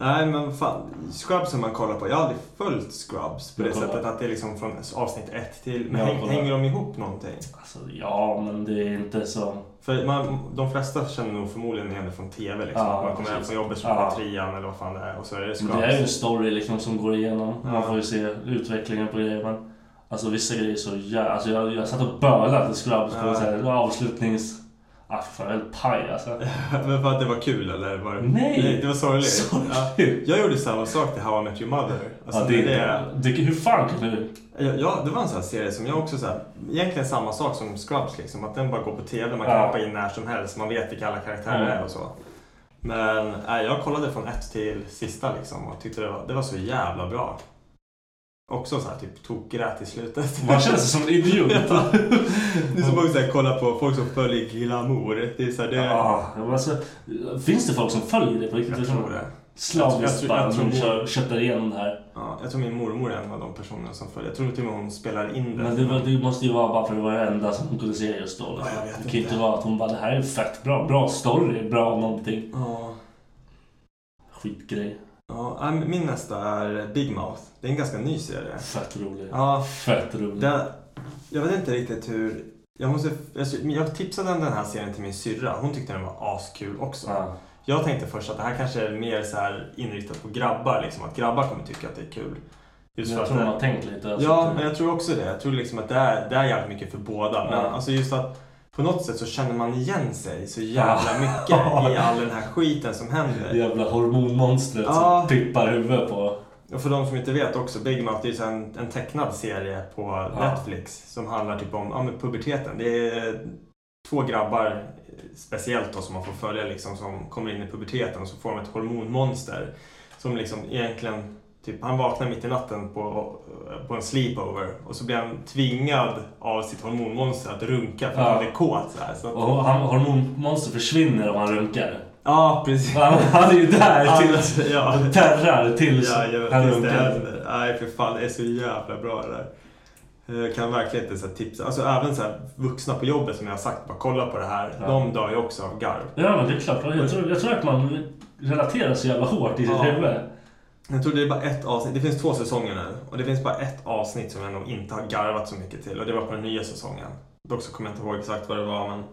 Nej men fan, Scrubs som man kollar på. Jag har aldrig följt Scrubs på det
Jag kollar.
sättet att det är liksom från avsnitt ett till. Men
Jag
häng,
kollar.
hänger de ihop någonting?
Alltså ja, men det är inte så...
För man, de flesta känner nog förmodligen igen det från TV liksom.
Ja,
man kommer hem
precis.
från jobbet så
Ja.
ja. trean eller vad fan det är och så är det Scrubs.
Men det är ju en story liksom som går igenom.
Ja.
Man får ju se utvecklingen på grejer. Men alltså vissa grejer är så jävla... Alltså, jag, jag satt och bölade till Scrubs på
Ja.
så här, avslutnings... Ah, fan, jag är helt paj alltså.
Men för att det var kul eller? Var det...
Nej!
Det var sorgligt.
Sorgligt.
Ja. Jag gjorde samma sak till How I Met Your Mother. Alltså,
ja,
när
det, det, det, hur fan kan du...
Ja, ja, det var en sån här serie som jag också så här, egentligen samma sak som Scrubs liksom. Att den bara går på TV, man kan
Ja.
hoppa in när som helst, man vet vilka alla karaktärer
Mm.
är och så. Men nej, jag kollade från ett till sista liksom och tyckte det var, det var så jävla bra. Också så här typ tokgrät i slutet.
Man känner sig som en idiot.
Ja. Det är som också så här, kolla på folk som följer glamour. Det är så här, det...
Ja, men alltså, finns det folk som följer det på riktigt?
Jag tror det. Jag
Slaviskt
tror- jag
band
tror-
som kör- köttar igenom det här.
Ja, jag tror min mormor är en av de personerna som följer. Jag tror till och med hon spelar in det.
Men det, var, det måste ju vara bara för att det var det enda som hon kunde se just då. Liksom.
Ja, jag vet
det kan ju
inte.
inte vara att hon bara, det här är fett bra, bra story, bra någonting.
Ja.
Skitgrej.
Ja, nej, men min nästa är Big Mouth. Det är en ganska ny serie.
Fett rolig.
Ja,
Fett rolig.
det, jag vet inte riktigt hur... Jag, måste, jag, jag tipsade om den här serien till min syrra. Hon tyckte den var askul också.
Ja.
Jag tänkte först att det här kanske är mer så här inriktat på grabbar. Liksom, att grabbar kommer tycka att det är kul. Just för
Jag
att
tror
det-
man har tänkt lite. alltså,
Ja,
att-
men jag tror också det. Jag tror liksom att det är, det är jävligt mycket för båda. Men
Ja.
alltså just att på något sätt så känner man igen sig så jävla mycket i all den här skiten som händer.
Det jävla hormonmonstret
Ja.
som pippar huvudet på.
Och för de som inte vet också, Big Mouth det är ju så här en, en tecknad serie på Netflix som handlar typ om ja, men puberteten. Det är två grabbar eh, speciellt då som man får följa liksom som kommer in i puberteten och så får de ett hormonmonster som liksom egentligen Typ, han vaknar mitt i natten på, på en sleepover och så blir han tvingad av sitt hormonmonster att runka för att
Ja.
han är kåt. Så här, så att,
Och han, hormonmonstret försvinner om han runkar.
Ja, precis.
Han, han är ju där tills...
ja.
Terrar tills
Ja, jag
han
vet, tills det
runkar.
händer. Nej, för fan. Det är så jävla bra det där. Jag kan verkligen inte så här tipsa. Alltså även så här, vuxna på jobbet som jag har sagt, bara kolla på det här.
Ja.
De dör ju också av garv.
Ja, men det är klart. Jag tror, jag tror att man relaterar så jävla hårt i sitt
Ja.
huvud.
Jag tror det är bara ett avsnitt. Det finns två säsonger nu. Och det finns bara ett avsnitt som jag nog inte har garvat så mycket till. Och det var på den nya säsongen. Dock så kommer jag inte ihåg exakt vad det var, men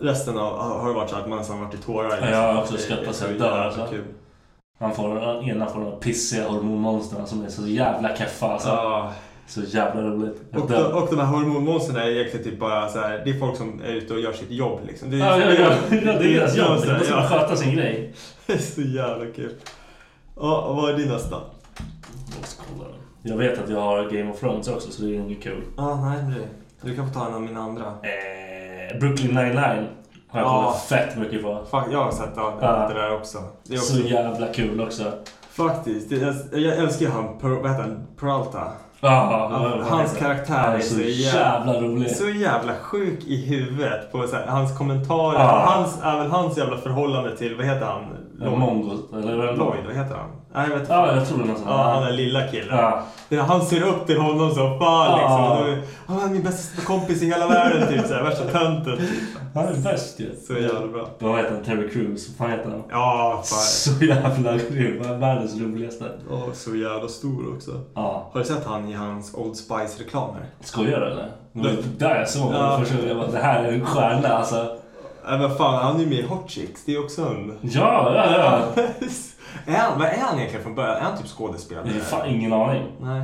resten av, har det varit så att man nästan varit i tårar. liksom.
jag har också
Det är
skrattat
så
så jag dör,
jävla
alltså.
kul.
Man får, ena får de här pissiga hormonmonstren som är så jävla keffa alltså.
Ja.
Så jävla roligt. Jag
Och,
dör.
de, och de här hormonmonstren är egentligen typ bara så här, det är folk som är ute och gör sitt jobb liksom. Det är,
Ja, ja, ja, ja, det är deras jobb. liksom.
så här,
De måste
ja.
sköta sin grej.
Det är så jävla kul. Ja, och vad är din nästa?
Jag måste kolla den. Jag vet att jag har Game of Thrones också så det är inget kul.
Ja, nej men det, du kan få ta en av mina andra.
Eh, Brooklyn 99 har jag
Ja.
kollat fett mycket på.
Fuck, jag har sett ja,
Ja.
det där också. Det är också
Så jävla kul också.
faktiskt, det, jag, jag älskar ju han, Per- vad heter han, Peralta.
Ah,
Hans-
vad
hans
heter det?
karaktär
Han
är
är så
så jävla-
jävla rolig.
Så jävla sjuk i huvudet på så här, hans kommentarer.
Ja.
Hans, även hans jävla förhållande till, vad heter han?
Ja, Mongo, eller vem?
Lloyd, vad heter han? Nej, jag vet inte.
Ja, jag tror det är något sånt.
Ja, han den lilla killen.
Ja.
Det- Han ser upp till honom som fan liksom.
Ja.
Och då är- "Åh, Han är min bästa kompis i hela världen typ. Så här, värsta tönten.
Han är bäst ju.
Så jävla bra.
Vad heter han? Terry Crews? Vad fan heter han?
Ja, fan.
Så jävla grym. Han är Världens roligaste.
Åh, så jävla stor också.
Ja.
Har du sett han i hans Old Spice-reklamer?
Skojar du eller? Det var ju där jag såg honom första gången. Jag bara, det här är en stjärna alltså.
Nej men Äh, fan, han är ju med i Hot Chicks. Det är ju också en...
Ja, ja, ja.
är han, vad är han egentligen från början? Är han typ skådespelare?
Det är fan ingen aning.
Nej.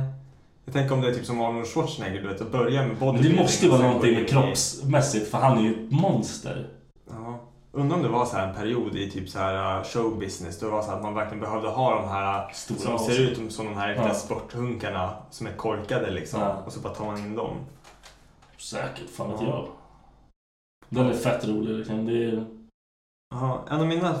Jag tänker om det är typ som Arnold Schwarzenegger, du vet, att börja med
Men det
bodybuilding.
måste ju vara
sen
någonting
går
med
in i-
kroppsmässigt för han är ju ett monster.
Ja. Undrar om det var så här en period i typ så här uh, showbusiness. Det var så här att man verkligen behövde ha de här uh,
Stora
som
också.
ser ut som de här
Ja.
ja. sporthunkarna som är korkade liksom.
Ja.
Och så bara tar man in dem.
Säkert, fan vet
Ja.
jag. Den är fett rolig liksom. Det är...
Jaha, en av mina,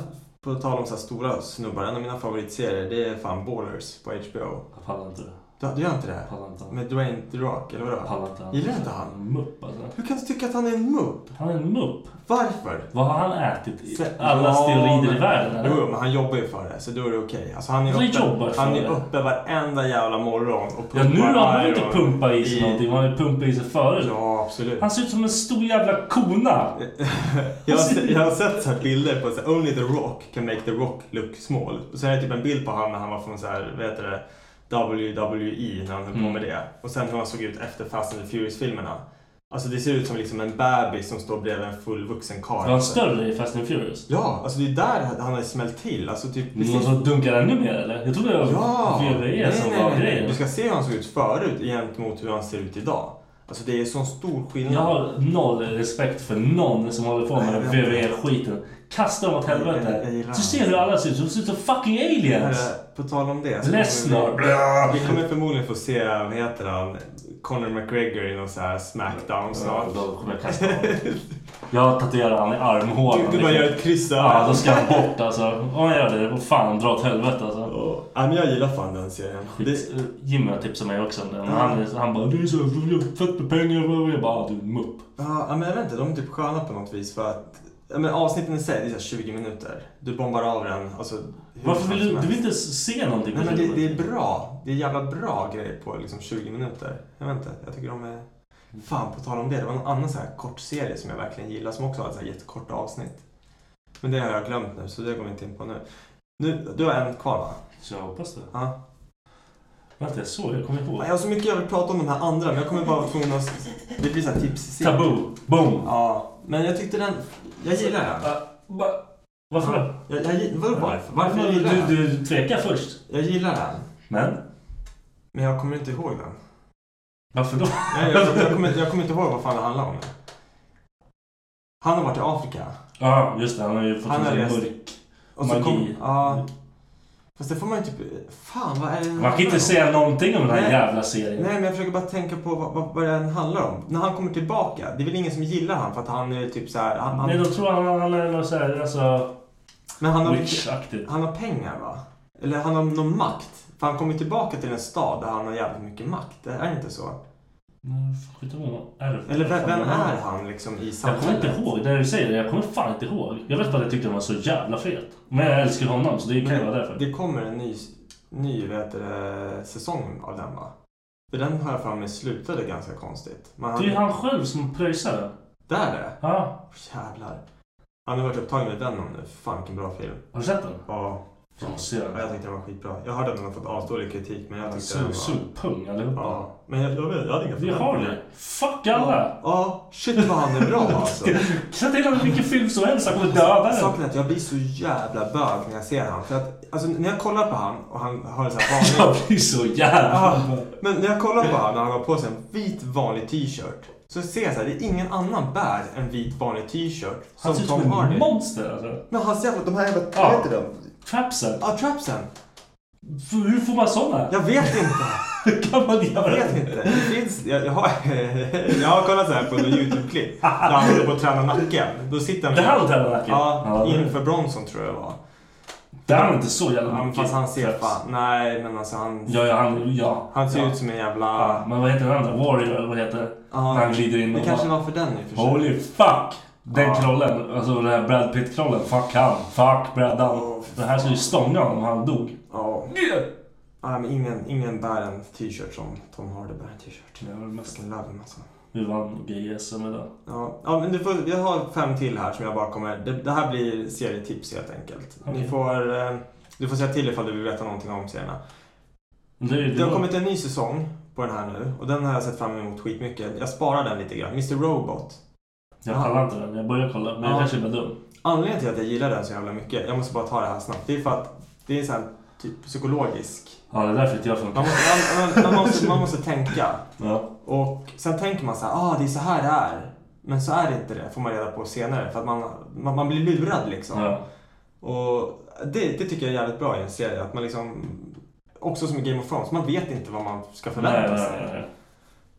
på tal om så här stora snubbar, en av mina favoritserier det är fan Ballers på HBO.
Jag pallar inte det.
Du, du gör inte det?
Jag pallar inte.
Med Dwayne The Rock, eller
Jag
vadå?
pallar inte.
Gillar inte han?
En mupp alltså.
Hur kan du tycka att han är en mupp?
Han är en mupp.
Varför?
Vad har han ätit? i
Se-
Alla
Ja,
steroider i
men-
världen eller?
Jo, men han jobbar ju för det, så då är det okej. Alltså, han är
Han jobbar
uppe,
för
han är
det.
uppe varenda jävla morgon och
Ja, nu har han inte
iron
pumpat i sig någonting. Han har ju pumpat i sig förut.
Ja, absolut.
Han ser ut som en stor jävla kona.
Jag har, se- jag har sett så här bilder på så här, Only the Rock can make the Rock look small. Och sen är det typ en bild på han när han var från så här, vad heter det, WWE när han höll på med det. Och sen hur han såg ut efter Fast and the Furious-filmerna. Alltså det ser ut som liksom en bebis som står bredvid en fullvuxen karl.
Var han större i Fast and Furious?
Ja, alltså det är där han har smällt till. Alltså typ
Någon
precis.
som dunkar ännu mer eller? Jag trodde det var
Ja!
VVE som var grejen.
Du ska se hur han såg ut förut gentemot hur han ser ut idag. Alltså det är sån stor skillnad.
Jag har noll respekt för någon som håller på med den
Nej, jag vet inte.
VVE-skiten. Kasta dem åt
Jag- jag
helvete.
gillar
Så
honom.
ser du hur alla ser ut. De ser ut som fucking aliens.
Herre, Eh, På tal om det. så
Lesnar.
kommer Vi, vi kommer förmodligen få se, vad heter han, Conor McGregor i någon så här Smackdown
Ja,
snart.
då kommer jag kasta honom. Jag tatuerar han i armhålan.
Du, du bara
liksom.
gör ett kryss där.
Ja, då ska han bort alltså. Om han gör det, då fan dra åt helvete alltså.
Ja, men jag gillar fan den serien. Det,
Skit. Jimmy har tipsat mig också om den. Han, han bara, det är så jag har fett med pengar. Jag bara, "Ah, du mupp.
ja, ja, men jag vet inte, de är typ sköna på något vis för att ja, men avsnitten i sig, det är så här 20 minuter. Du bombar av den. Alltså, hur
Varför
fan
vill
som
du, du
helst.
vill inte se någonting på liksom.
Nej men det, det
filmen?
är bra. Det är jävla bra grejer på liksom 20 minuter. Jag vet inte, jag tycker de är... Fan, på tal om det. Det var en annan så här kort serie som jag verkligen gillar som också har så här jättekorta avsnitt. Men det har jag glömt nu, så det går vi inte in på nu. nu du har en kvar va?
Så jag hoppas det.
Ja.
Vänta, jag såg, jag kommer ihåg.
Jag har så mycket jag vill prata om de här andra, men jag kommer bara vara tvungen att... Det blir så här tips
Tabu. Boom.
Ja, men jag tyckte den... Jag gillar den.
Ah, va- Varför då?
Jag, jag, gi- vadå varför? Varför jag gillar
du,
den?
du tvekar först.
Jag gillar den,
Men?
men jag kommer inte ihåg den.
Varför då?
Nej, jag, jag, kommer, inte- jag kommer inte ihåg vad fan det handlar om. Han har varit i Afrika.
Ja, just det. Han har ju fått
Han
en
har rest.
sån mörk...
Och så
Magi.
Kom, ja. Fast det får man ju typ... Fan, vad är det
Man kan inte säga någonting om den här
Nej.
jävla serien.
Nej, men jag försöker bara tänka på vad, vad, vad den handlar om. När han kommer tillbaka, det är väl ingen som gillar han för att han är typ så här... Han,
Nej,
han,
de tror han, han är någon så här, alltså...
men han har, mycket,
Witch-aktigt.
han har pengar, va? Eller han har någon makt. För han kommer tillbaka till en stad där han har jävligt mycket makt. Det är inte så?
Men Skit om honom. Ärv.
Eller vem,
Fan,
vem
vad
är han liksom i
Jag kommer
samhället?
inte ihåg. När du säger det, jag kommer fan inte ihåg. Jag vet bara att jag tyckte den var så jävla fet. Men jag älskar honom, så det kan ju vara därför.
Det kommer en ny, ny vad heter det, säsong av den va? För den har jag för mig slutade ganska konstigt. Men han,
Det är ju han själv som pröjsar den.
Där är det?
Ja.
Jävlar. Han har varit upptagen med Venom nu. Fan vilken bra film.
Har du sett den?
Ja,
Jag måste se den.
jag tyckte den var skitbra. Jag hörde att den har fått avstående kritik men jag tyckte den
Sug,
var...
sug, pung allihopa.
Ja, men jag, jag, vet, jag hade inga
Vi har det. Fuck alla!
Ja, shit vad han är bra alltså.
Sätt in honom i vilken film som helst, han kommer döda den.
Saken är att jag blir så jävla bög när jag ser han. För att, alltså när jag kollar på han och han har så här vanlig...
Jag blir så jävla...
Ja, Ah, men när jag kollar på honom när han har på sig en vit vanlig t-shirt så ser jag så här, det är ingen annan bär en vit vanlig t-shirt som
Han ser ut
Tom
som
Hardy.
ett monster alltså.
Men hans jävla, de här jävla,
Ja.
vad heter de?
Trapsen.
Ja, trapsen.
F- Hur får man såna?
Jag vet inte.
Hur kan man
Jag
göra
vet
det?
inte. Det finns, jag, jag, har, jag har kollat så här på en YouTube-klipp där han håller på att träna nacken. Då sitter han...
Det här tränar nacken?
Ja,
det-
inför Bronson tror jag det var.
Det här är inte så jävla
Ja, men
mycket
fast han ser
traps.
fan... Nej, men alltså han...
Ja, ja, han... Ja.
Han ser
ja.
ut som en jävla...
Ja, men vad heter den andra? Warrior, eller vad heter det?
Ja.
När han glider in
Det
och
kanske
bara...
var för den i och för sig.
Holy fuck! Den
Ja.
krollen, alltså den här Brad Pitt-krollen. Fuck han. Fuck Bradan. den här skulle ju stånga honom om han dog.
Ja.
Yeah.
Nej, men ingen, ingen bär en t-shirt som Tom Hardy bär en t-shirt.
Det var det mest.
Fucking love him alltså.
Vi vann GSM idag.
Ja, ja, men du får, jag har fem till här som jag bara kommer... Det, det här blir serietips helt enkelt. Ni
Okej.
får, eh, du får säga till ifall du vill veta någonting om serierna.
Det, det,
Det har kommit en ny säsong på den här nu och den har jag sett fram emot skitmycket. Jag sparar den lite grann. Mr Robot.
Jag pallar inte den. Jag börjar kolla. Men jag
Ja.
kanske är bara dum.
Anledningen till att jag gillar den så jävla mycket, jag måste bara ta det här snabbt, det är för att det är en sån här typ psykologisk...
Ja, det är därför inte jag
Man
funkar.
måste, man, man, man måste, man måste tänka.
Ja.
Och sen tänker man så här, ah det är så här det är. Men så är det inte det, får man reda på senare. För att man, man, man blir lurad liksom.
Ja.
Och det, det tycker jag är jävligt bra i en serie. Att man liksom, också som i Game of Thrones, man vet inte vad man ska
Nej,
förvänta sig.
nej,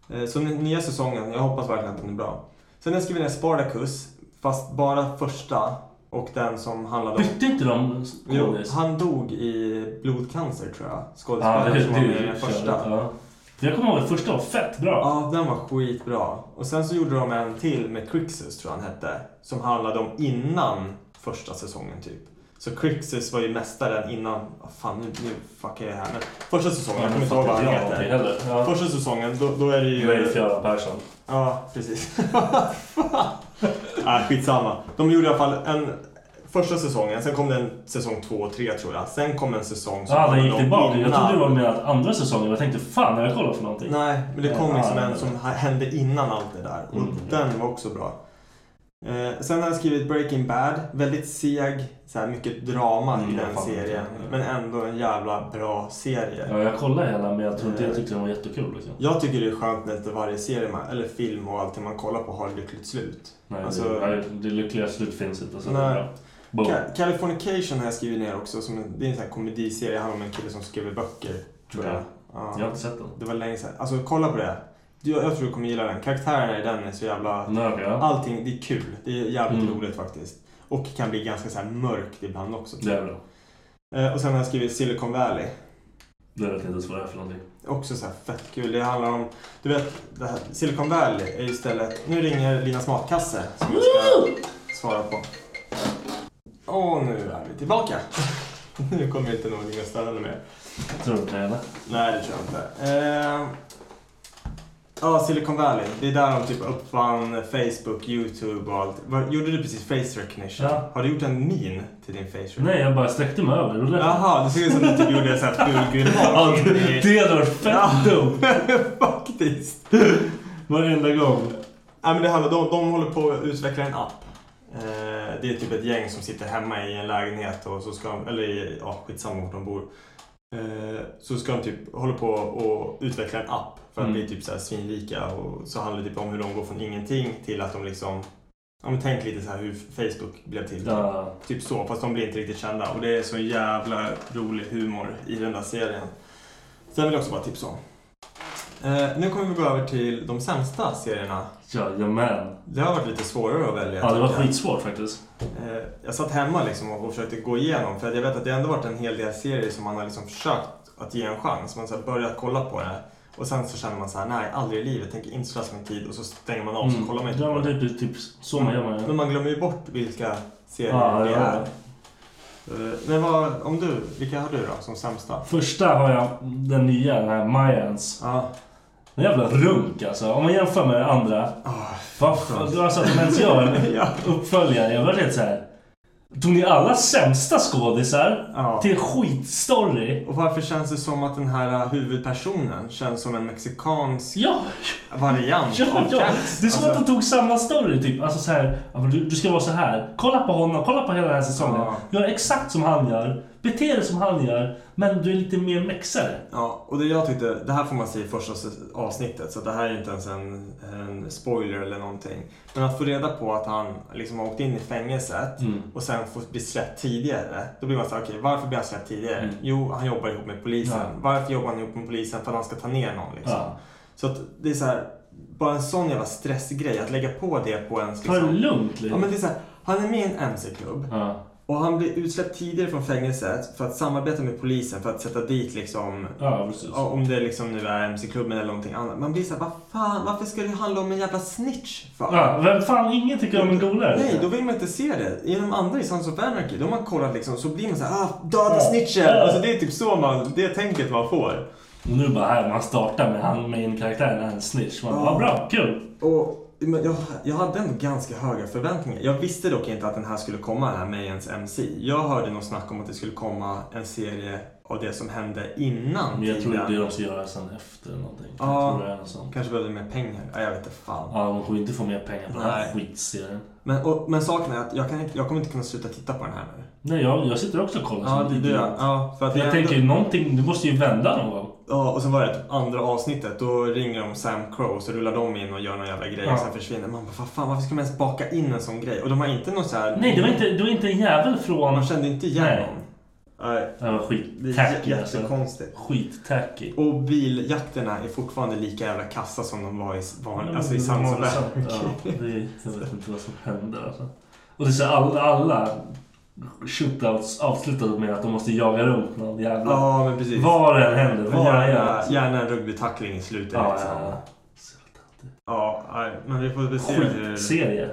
nej.
Eh, Så den nya säsongen, jag hoppas verkligen att den är bra. Sen jag skriver ner Spartacus, fast bara första och den som handlade om...
Bytte inte de
Jo,
skådis?
han dog i blodcancer tror jag.
Ja, det
Skådespelaren
det-
som var med i
det
den
körde.
första.
Ja. Jag kommer ihåg att första var fett bra.
Ja, den var skitbra. Och sen så gjorde de en till med Crixus, tror jag han hette. Som handlade om innan första säsongen, typ. Så Crixus var ju mästaren innan... vad fan, nu, nu fuckar jag här. Men första säsongen, jag kommer inte ihåg vad han
Jag fattar inte
heter.
heller. Ja.
Första säsongen, då, då är det ju...
Leif Göran Persson.
Ja, precis. Nej, skitsamma. De gjorde i alla fall en första säsongen, sen kom det en säsong två och tre tror jag. Sen kom en säsong som
Ja, den gick
handlade om
tillbaka. Jag
innan.
trodde det var med att andra säsongen. Jag tänkte fan, har jag kollat för någonting?
Nej, men det kom
Ja,
liksom
ja,
en
Typ. ja.
som hände innan allt det där. Och
Mm.
den var också bra. Eh, sen har jag skrivit Breaking Bad. Väldigt seg, så här mycket drama i
Mm, jag
den
fattar.
serien. Men ändå en jävla bra serie.
Ja, jag kollade hela, men jag tror inte jag tyckte den var jättekul. Liksom.
Jag tycker det är skönt när inte varje serie, man, eller film och allting man kollar på har ett lyckligt slut.
Nej,
Alltså-
det, nej, det lyckliga slut finns inte. Så det
Nej.
är bra. Boom.
Ca- Californication har jag skrivit ner också. Som en, det är en sån här komediserie. Det handlar om en kille som skriver böcker. Tror
Okej.
jag. Ja.
Jag har inte sett den.
Det var länge sedan. Alltså kolla på det. Du, jag tror du kommer gilla den. Karaktärerna i den är så jävla...
Nördiga.
Allting, det är kul. Det är jävligt
Mm.
roligt faktiskt. Och kan bli ganska så här mörkt ibland också.
Det är bra.
Eh, och sen har jag skrivit Silicon Valley.
Det vet jag inte ens vad det är för någonting.
Också så här fett kul. Det handlar om... Du vet, det här, Silicon Valley är ju stället... Nu ringer Linas matkasse som jag ska svara på. Och nu är vi tillbaka. nu kommer inte någon ringa och ställa mer.
Tror du inte det eller?
Nej, det tror jag inte. Eh, Ja, Silicon Valley. Det är där de typ uppfann Facebook, YouTube och allt. Vad, gjorde du precis face recognition?
Ja.
Har du gjort en min till din face recognition?
Nej, jag bara sträckte mig över. Det var därför.
Jaha, det ser ut som att du typ gjorde en sån här ful
Ja,
gulhål in
det-
i...
det hade varit
Ja.
fett dumt.
Faktiskt.
Varenda gång.
Nej, men det handlar, de, de håller på att utveckla en app. Eh, det är typ ett gäng som sitter hemma i en lägenhet och så ska de, eller i- ja, skitsamma vart de bor. Eh, så ska de typ hålla på och utveckla en app för att
Mm.
bli typ så här svinrika. Och så handlar det typ om hur de går från ingenting till att de liksom, ja men tänk lite så här hur Facebook blev till.
Ja.
Typ så, fast de blir inte riktigt kända. Och det är så jävla rolig humor i den där serien. Sen vill jag också bara tipsa om. Eh, nu kommer vi gå över till de sämsta serierna
Jajamän.
det har varit lite svårare att välja.
Ja, det var
tycker jag.
skitsvårt faktiskt.
Eh, Jag satt hemma liksom och och försökte gå igenom. För att jag vet att det ändå varit en hel del serier som man har liksom försökt att ge en chans. Man har så här börjat kolla på det. Och sen så känner man så här, nej aldrig i livet, tänker inte slösa min tid. Och så stänger man av och så Mm. kollar man inte
Ja,
på
men
det.
Mm. typ, typ så man gör man ju.
Men man glömmer ju bort vilka serier
Ja,
det
ja,
är.
ja.
Eh, Men vad, om du, vilka har du då som sämsta?
Första har jag den nya, den här Mayans.
Ja,
Den jävla runk alltså. Om man jämför med det andra. Vad fan, du alltså att de ens gör en
Ja.
uppföljare. Jag var helt såhär. Tog ni alla sämsta skådisar
Ja.
till skitstory?
Och varför känns det som att den här eh, huvudpersonen känns som en mexikansk
Ja,
variant
ja,
av
ja.
Cats?
Det är som
Alltså-
att de tog samma story typ. Alltså såhär, du, du ska vara så här. Kolla på honom, kolla på hela den här säsongen.
Ja.
Gör exakt som han gör. Bete dig som han gör. Men du är lite mer mexare.
Ja, och det jag tyckte, det här får man se i första s- avsnittet så det här är inte ens en, en spoiler eller någonting. Men att få reda på att han liksom har åkt in i fängelset
Mm.
och sen får bli släppt tidigare. Då blir man så här, okej varför blir han släppt tidigare? Jo, han jobbar ihop med polisen.
Mm. Ja.
Varför jobbar han ihop med polisen? För att han ska ta ner någon liksom.
Ja.
Så att det är så här, bara en sån jävla stressgrej att lägga på det på ens
Ta det
liksom.
lugnt
Ja
lite.
men det är så här, han är med i en mc-klubb.
Ja.
Och han blir utsläppt tidigare från fängelset för att samarbeta med polisen för att sätta dit liksom
Ja, precis.
Ja, om det liksom nu är MC-klubben eller någonting annat. Man blir såhär, vad fan, varför ska det handla om en jävla snitch för?
Ja, vem fan, ingen tycker om en golare.
Nej, då vill man inte se det. I de andra i Sons of Anarchy, de har kollat liksom, så blir man såhär, ah, döda snitchen! Alltså det är typ så man, det tänket man får.
Och nu bara här, man startar med han med en karaktär, han är en snitch. Man bara, vad bra, kul.
Och men jag, jag hade ändå ganska höga förväntningar. Jag visste dock inte att den här skulle komma, den här Mayans MC. Jag hörde någon snack om att det skulle komma en serie av det som hände innan
Men jag tror det
tiden.
är det de ska göra sen efter eller någonting.
Ja.
Jag tror det är något sånt.
Kanske behövde mer pengar. Ja, jag vet inte fan.
Ja, de kommer inte få mer pengar på den här
Nej.
skitserien.
Men, och, men saken är att jag, kan, inte- jag kommer inte kunna sluta titta på den här nu.
Nej, jag, jag sitter också och kollar.
Ja,
som
det
en
är det.
idiot.
Ja, för att
Jag
det är
tänker ju
ändå-
någonting, du måste ju vända någon gång.
Ja, och sen var det typ andra avsnittet. Då ringer de Sam Crow så rullar de in och gör någon jävla grej
Ja.
och sen försvinner. Man bara, "Vad fan varför ska man ens baka in en sån grej? Och de har inte någon så här...
Nej, det var inte, det var inte en jävel från...
Man kände inte igen
Nej.
någon. Nej,
Det var
det är
skit-tacky
jä-
alltså.
jättekonstigt.
Skit-tacky.
Och biljakterna är fortfarande lika jävla kassa som de var i,
Mm,
var, alltså i
Ja,
Sundsvall.
Ja, det är, jag vet inte vad som händer alltså. Och det är så alla, alla shootouts avslutade med att de måste jaga runt någon jävla...
Ja, men precis.
Vad det än händer,
Men
vad det än
Gärna,
händer.
gärna en rugbytackling i slutet
Ja,
liksom.
ja, ja.
Ja, nej, men vi får väl se. hur-
Skitserie.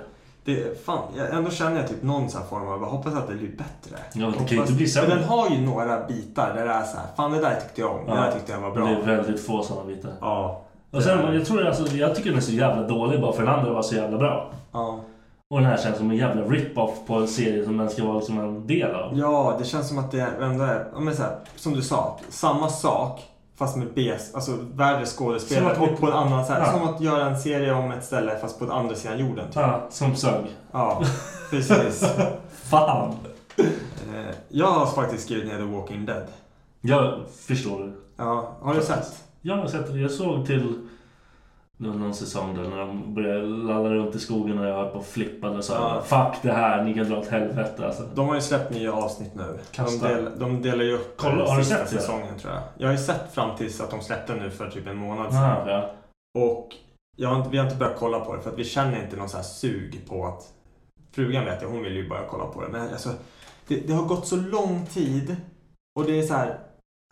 Det, fan, jag, ändå känner jag typ någon sån här form av, jag hoppas att det blir bättre.
Ja, det kan ju
Hoppas-
inte bli sämre.
Men den har ju några bitar där det är så här, fan det där tyckte jag om, det där tyckte jag var bra.
Det är väldigt få sådana bitar.
Ja.
Och
Eh.
sen, jag, tror, alltså, jag tycker den är så jävla dålig bara för den andra var så jävla bra.
Ja.
Och den här känns som en jävla rip-off på en serie som den ska vara liksom en del av.
ja, det känns som att det ändå är, ja, men så här, som du sa, samma sak fast med B, alltså värre skådespelare
Som att-
och på en annan så här,
Ja.
som att göra en serie om ett ställe fast på den andra sidan jorden. Typ.
Ja, som sög.
Ja, precis.
Fan!
Eh, jag har faktiskt skrivit ner The Walking Dead.
Jag förstår det.
Ja, har du sett?
Jag har sett det. Jag såg till det var någon säsong där när de började lalla runt i skogen och jag höll på och flippade och sa
Ja.
Fuck det här, ni kan dra åt helvete alltså.
De har ju släppt nya avsnitt nu. De,
Kasta.
del, de delar ju upp
Kolla,
den
har du
sista
sett det?
säsongen tror jag. Jag har ju sett fram tills att de släppte nu för typ en månad sedan.
Ah, ja.
Och jag har inte, vi har inte börjat kolla på det för att vi känner inte någon så här sug på att... Frugan vet jag, hon vill ju börja kolla på det. Men alltså, det, det har gått så lång tid och det är så här...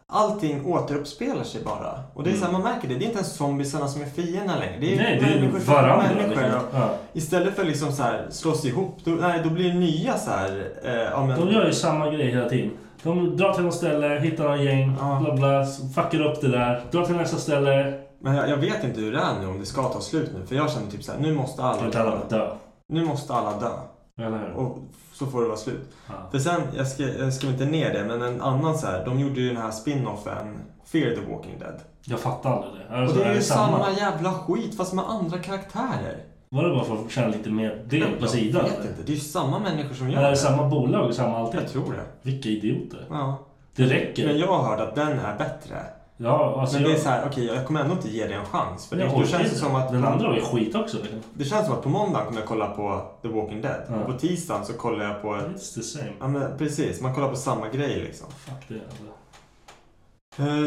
Allting återuppspelar sig bara. Och det är så här, man märker det. Det är inte ens zombiesarna som är fienderna längre. Det är
Mm. Nej, det är ju
människor som är
varandra.
människor.
Liksom. Ja.
Istället för liksom så här slås ihop, då, nej, då blir det nya så här... Eh, ja, men,
De gör ju samma grej hela tiden. De drar till något ställe, hittar någon gäng,
Ja.
bla bla, fuckar upp det där, drar till nästa ställe.
Men jag, jag vet inte hur det är nu om det ska ta slut nu. För jag känner typ så här, nu måste alla
Inte alla dö.
Nu måste alla dö.
Eller hur?
Och så får det vara slut.
Ja.
För sen, jag, ska, jag skrev inte ner det, men en annan så här, de gjorde ju den här spin-offen Fear the Walking Dead.
Jag fattar aldrig det.
Och
Alltså,
det är ju samma jävla skit fast med andra karaktärer.
Var det bara för att känna lite mer det på sidan?
Jag vet inte, det är ju samma människor som
Eller är
gör
det
det.
samma bolag och samma allting?
Jag tror det.
Vilka idioter.
Ja.
Det räcker.
Men jag har hört att den är bättre.
Ja, alltså
Men det
jag-
är så här, okej jag kommer ändå inte ge det en chans. För
jag
det,
orkar
det känns
inte.
som att...
Den andra var ju skit också. liksom.
Det känns som att på måndag kommer jag kolla på The Walking Dead.
Ja. Mm.
Och på tisdagen så kollar jag på...
It's the same.
Ja men precis, man kollar på samma grej liksom.
Fuck det. Alltså.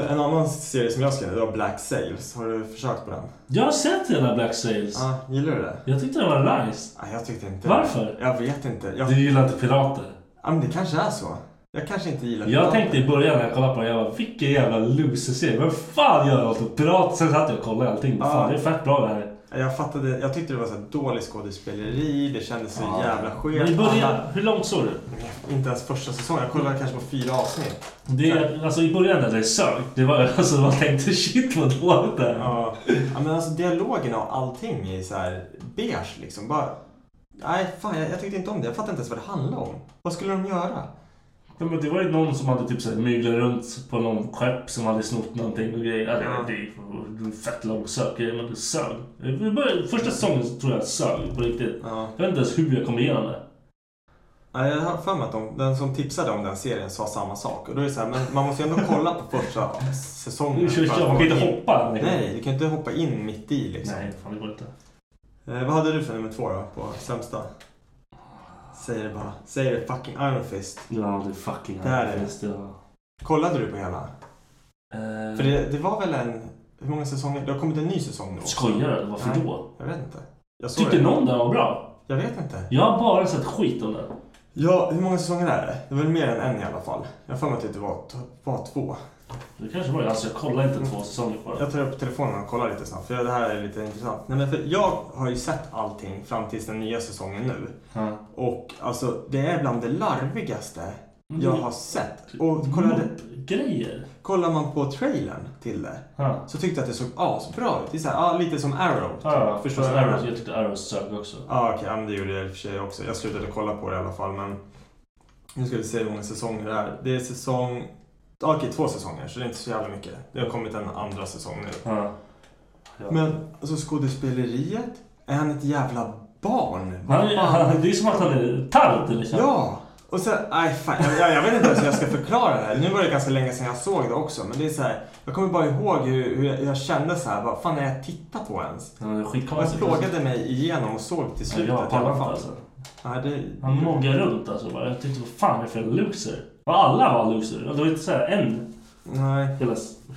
Eh, en annan serie som jag skrev det var Black Sails. Har du försökt på den?
Jag har sett hela Black Sails.
Ja, gillar du det?
Jag tyckte den var nice.
Nej, jag tyckte inte
Varför?
Jag vet inte. Jag...
Du gillar inte pirater.
Ja, men det kanske är så. Jag kanske inte gillar
Jag tänkte i början när jag kollade på den, jag bara vilken jävla loser-serie. Vem fan gör något åt pirater? Sen satt jag och kollade allting.
Ja.
Fan, det är fett bra det här.
Ja, Eh, Jag fattade. Jag tyckte det var så här dålig skådespeleri. Det kändes så jävla skevt.
Men i början,
Alla-
hur långt såg du?
Inte ens första säsongen. Jag kollade kanske på fyra avsnitt.
Det, är- alltså i början när det sög, det var alltså man tänkte shit vad dåligt det är.
Ja. ja, men alltså dialogerna och allting är så här beige liksom. Bara... Nej, fan jag, jag tyckte inte om det. Jag fattade inte ens vad det handlade om. Vad skulle de göra?
Ja, men det var ju någon som hade typ såhär myglat runt på någon skepp som hade snott någonting och grejer. Ja, det, det, det är en fett långsökt grej, men det sög. Vi började- Första säsongen så tror jag sög på riktigt.
Ja.
Jag vet inte ens hur jag kom igenom det.
Nej, jag har för mig att de, den som tipsade om den serien sa samma sak. Och då är det så här, men man måste ju ändå kolla på första säsongen.
Nu kör
för att
jag, man kan
komma
inte
in.
hoppa.
Nej, du kan inte hoppa in mitt i liksom.
Nej, fan det går inte.
Eh, vad hade du för nummer två då, på sämsta? Säg det bara. Säg det fucking Iron Fist.
Ja, det är fucking
Där är det.
Fist, ja.
Kollade du på hela?
Eh,
För det, det var väl en... Hur många säsonger? Det har kommit en ny säsong nu också.
Skojar du? Varför
Nej,
då?
Jag vet inte. Jag såg
Tyckte
det.
någon den var bra?
Jag vet inte.
Jag har bara sett skit om den.
Ja, hur många säsonger är det? Det var väl mer än en i alla fall. Jag har för mig att det var, var två.
Det kanske var det. Alltså jag kollar inte två säsonger på den.
Jag tar upp telefonen och kollar lite snabbt för det här är lite intressant. Nej, men för jag har ju sett allting fram tills den nya säsongen nu.
Ja.
Och alltså det är bland det larvigaste
Mm.
jag har sett.
Typ
Och kollade,
Grejer.
kollar man på trailern till det
Ja.
så tyckte jag att det såg asbra ut. Det är så här, ja, lite som Arrow. typ.
Ja,
Förstår
Förstår
du? vad
jag,
jag
Arrows,
menar?
jag tyckte Arrows sög också.
Ja, okej. ja, men det gjorde jag i och för sig också. Jag slutade kolla på det i alla fall men nu ska vi se hur många säsonger det är. Det är säsong... ja, Okej, två säsonger så det är inte så jävla mycket. Det har kommit en andra säsong nu.
Ja. Ja.
Men alltså skådespeleriet, är han ett jävla barn? Vad
Han,
fan?
han, det är som att han är tant liksom.
Ja! Och sen, nej fan, jag, jag, jag vet inte ens hur jag ska förklara det här. Nu var det ganska länge sedan jag såg det också. Men det är så här, jag kommer bara ihåg hur, hur jag- jag kände så här, vad fan är jag tittar på ens?
Han är
Och jag
skitkonstig.
plågade mig igenom och såg till
Ja,
slutet
jag
i alla
pallar inte
fall.
alltså.
Nej, det,
Han moggar runt alltså. Bara. Jag tyckte, vad fan är det för en loser? Och alla var loser. Och det var inte såhär en
nej.
jävla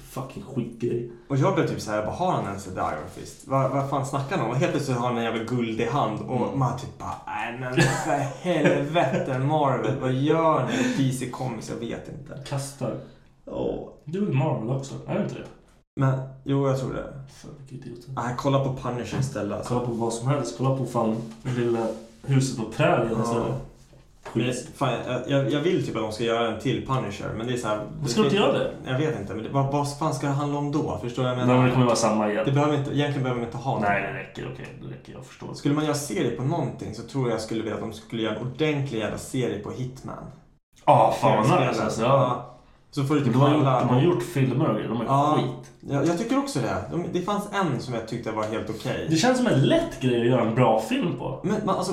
fucking skitgrej.
Och jag blev typ så här, bara, har han ens en Dire Fist? Vad, vad fan snackar han om? Och helt plötsligt har han en jävla guld i hand och
Mm.
man typ bara, nej men för helvete Marvel, vad gör ni? DC Comics, jag vet inte.
Kastar.
Åh.
Du är väl Marvel också? Är du inte det?
Men, jo jag tror det.
Fan vilka idioter.
Nej, kolla på Punisher istället alltså.
Kolla på vad som helst. Kolla på fan det lilla huset på prärien
Ja.
istället.
Men,
Skit.
fan, jag, jag, jag vill typ att de ska göra en till Punisher, men det är så här,
Men ska de inte göra det?
Jag vet inte, men det, vad, vad fan ska det handla om då? Förstår du vad jag
Nej men
menar?
det kommer vara samma igen.
det behöver inte, egentligen behöver man inte ha
Nej
något.
det räcker, okej. Det räcker, jag förstår.
Skulle man göra serie på någonting så tror jag skulle vilja att de skulle göra en ordentlig jävla serie på Hitman.
Ja, fan vad nice
Spela.
alltså.
Ja.
Ja.
Så får du
De
typ
har, gjort, de
handla...
har gjort filmer och grejer. De är
Ja,
skit.
jag, jag tycker också det. De, det fanns en som jag tyckte var helt okej.
Det känns som en lätt grej att göra en bra film på.
Men man, alltså,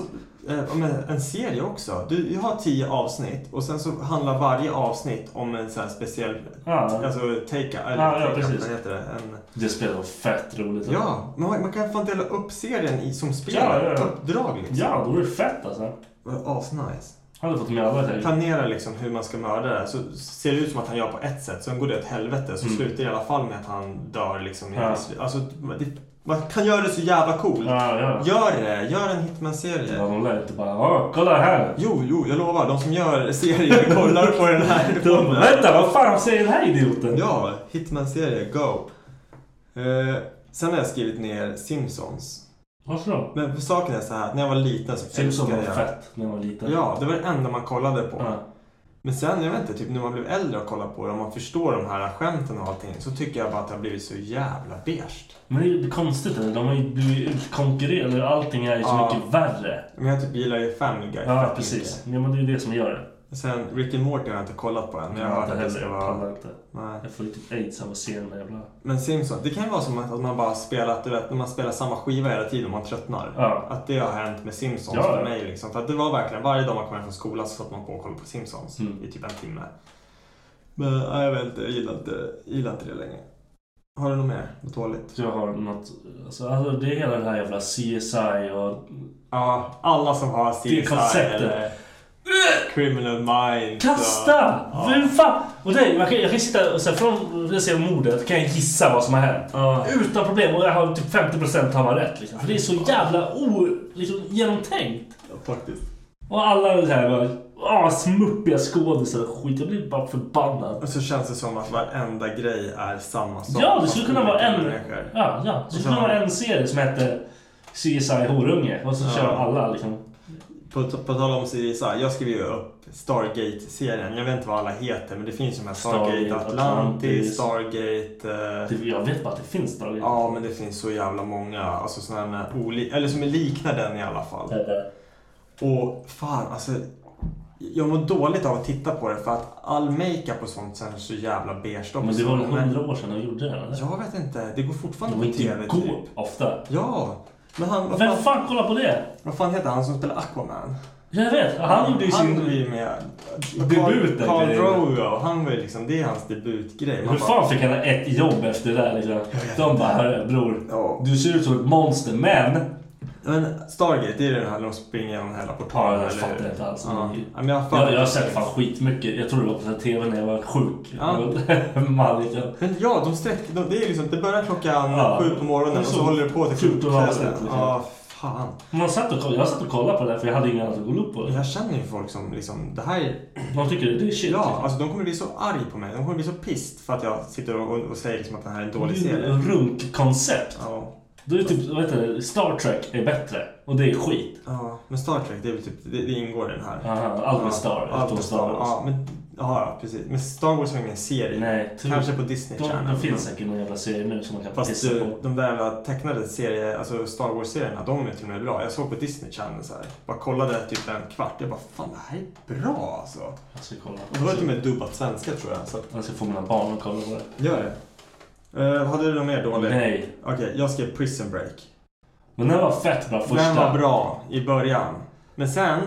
eh, om en, en serie också. Du, du har tio avsnitt och sen så handlar varje avsnitt om en så här speciell
Ja.
alltså, take eller
Ja, ja,
take
precis.
vad heter det? En,
Det spelar fett roligt.
ja, man, man kan fan dela upp serien i, som spel.
Ja, ja, ja.
Uppdrag liksom.
Ja, då är det fett alltså.
Vad Asnice.
Hade fått med alla det.
Planera liksom hur man ska mörda det. Så ser det ut som att han gör på ett sätt, sen går det åt helvete. Så slutar det i alla fall med att han dör liksom. i-
Mm. Ja.
Alltså, det, man kan göra det så jävla coolt.
Ja, ja.
Gör det! Gör en Hitman-serie.
Ja, de lär inte bara "Ja, kolla här.
Jo, jo, jag lovar. De som gör serier kollar på den här.
De bara, Vänta, vad fan säger den här idioten?
Ja, Hitman-serie, go! Eh, sen har jag skrivit ner Simpsons.
Varför då?
Men för saken är så här, när jag var liten så
Simpsons var
älskade jag...
fett när man var liten.
Ja, det var det enda man kollade på.
Ja.
Men sen, jag vet inte, typ när man blev äldre och kollade på det och man förstår de här skämten och allting så tycker jag bara att det har blivit så jävla beige.
Men det är ju konstigt. eller? De har ju blivit utkonkurrerade. Allting är ju så
Ja.
mycket värre.
Men jag typ gillar ju Family Guy
Ja,
fett
precis.
mycket.
Ja, men det är ju det som gör det.
Sen Rick and Morty har jag inte kollat på än, men jag har hört
inte
att det ska
heller. Jag
vara...
pallar inte.
Nej.
Jag får ju typ aids av att se den där jävla...
Men Simpsons, det kan ju vara som att att man bara spelat, du vet, när man spelar samma skiva hela tiden och man tröttnar.
Ja.
Att det har hänt med Simpsons
Ja,
för
ja.
mig. Liksom. För att det var verkligen, varje dag man kom hem från skolan så satt man på och kollade på Simpsons
Mm.
i typ en timme. Men nej, jag vet inte, jag gillar inte, jag gillar inte det längre. Har du något mer? Något dåligt?
Jag har något... Alltså, alltså det är hela den här jävla CSI och...
Ja, alla som har CSI
Det är konceptet.
eller Criminal Minds. och-
Kasta!
Ja.
Vem fan? Och det, man kan, jag kan sitta och så här, från jag ser mordet kan jag gissa vad som har hänt.
Ja.
Utan problem och jag har typ 50% har man rätt liksom. För det är så jävla o, liksom, genomtänkt.
Ja, Faktiskt.
Och alla det här bara, ah, smuppiga skådisar och skit. Jag blir bara förbannad.
Och så känns det som att varenda grej är samma sak.
Ja, det
fast
skulle kunna vara
olika
en...
människor.
Ja, ja. Det
Och
skulle
så
kunna
har-
vara en serie som hette CSI Horunge. Och så
Ja.
kör alla liksom.
På, på tal om CSI, jag skrev ju upp Stargate-serien. Jag vet inte vad alla heter, men det finns ju de här Stargate,
Stargate,
Atlantis,
Atlantis.
Stargate... eh,
Det, jag vet bara att det finns Dragit.
ja, men det finns så jävla många. Alltså sådana här olika... Eller som liknar den i alla fall. Och fan, alltså... Jag mår dåligt av att titta på det för att all makeup och sånt känns så jävla beige också.
Men det var väl
Men
hundra år sedan de gjorde den eller?
Jag vet inte, det går fortfarande
Det var
på
inte
TV
igår
typ.
ofta.
Ja, men han... Vad
Vem
fan,
fan kollar på det?
vad fan heter han som spelar Aquaman?
Jag vet, han gjorde ju
han
sin...
var ju med.
Debut där,
Carl
grejen.
Drogo, han var ju liksom, det är hans debutgrej. Man
Hur fan fick han ett jobb efter det där liksom? De bara, hörru
Ja.
bror. Du ser ut som ett monster, men...
Men Stargate, det är ju den här när de springer genom hela portalen.
Ja, jag
eller
fattar
hur?
inte alls.
Ja.
Men-
Ja, men jag, har för-
Jag, jag har sett fan skitmycket. Jag tror det var på TV när jag var sjuk.
Ja.
Man, liksom.
Men ja, de sträcker, de, det är ju liksom, det börjar klockan
Ja.
sju på morgonen och så,
Så
håller det på till sju på
14 avsnitt,
kvällen.
liksom.
Ja, fan.
Man satt och, koll- jag satt och kollade på det här för jag hade ingen annat att gå upp på.
Jag känner ju folk som liksom, det här är...
De tycker det är shit.
Ja, alltså de kommer bli så arg på mig. De kommer bli så pissed för att jag sitter och, och, och säger liksom att det här är en dålig
Det är
serie.
ju runkkoncept.
Ja.
Då är det typ, vad heter det, Star Trek är bättre. Och det är skit.
Ja, men Star Trek, det, är väl typ, det, det ingår i den här.
Aha, allt med Star,
allt
utom
med
Star Wars.
Ja, men, ja, ja, precis. Men Star Wars var ingen serie.
Nej, typ.
Kanske på Disney
De,
Channel.
de finns säkert någon jävla serie nu som man kan
Fast
pissa
du,
på.
de där jävla tecknade serie, alltså Star Wars-serierna, de är till och med bra. Jag såg på Disney Channel så här. Bara kollade typ en kvart. Jag bara, fan det här är bra alltså. Och
Jag ska kolla. Alltså,
det var till och med dubbat svenska tror jag. Så att,
Jag ska få mina barn att kolla på det.
gör det. Eh, hade du något mer dåligt?
Nej.
Okej, jag skrev Prison Break.
Men den var fett bra första.
Den var bra i början. Men sen,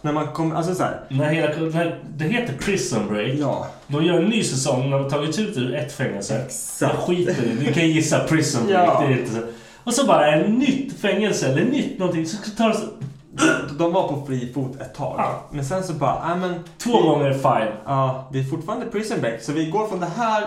när man kom... Alltså så här.
När hela, när, det heter Prison Break.
Ja.
De gör en ny säsong när de har tagit ut ur ett fängelse.
Exakt.
Jag skiter i det. Du kan gissa Prison Break.
Ja.
Det är inte så. Och så bara ett nytt fängelse eller nytt någonting. Så tar det så,
De var på fri fot ett tag.
Ja.
Men sen så bara, nej men...
två
vi,
gånger fine.
Ja, det är fortfarande prison break. Så vi går från det här...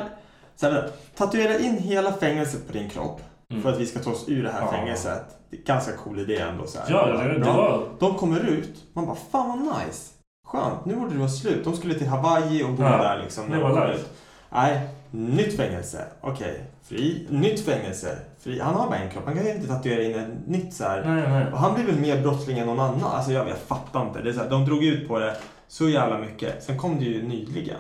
Så här tatuera in hela fängelset på din kropp. För att vi ska ta oss ur det här
Mm. Ja.
fängelset. Det är ganska cool idé ändå. Så här.
Ja, det- det
Bra.
var-
De kommer ut. Man bara, fan vad nice. Skönt, nu borde det vara slut. De skulle till Hawaii och bo
Ja,
där liksom. när
det
de
var
kom
life.
ut. Nej, nytt fängelse. Okej, fri. Nytt fängelse. Fri. Han har bara en kropp. Han kan ju inte tatuera in ett nytt så här.
Nej, nej.
Och han blir väl mer brottsling än någon annan. Alltså jag, jag fattar inte. Det är så här, de drog ut på det så jävla mycket. Sen kom det ju nyligen.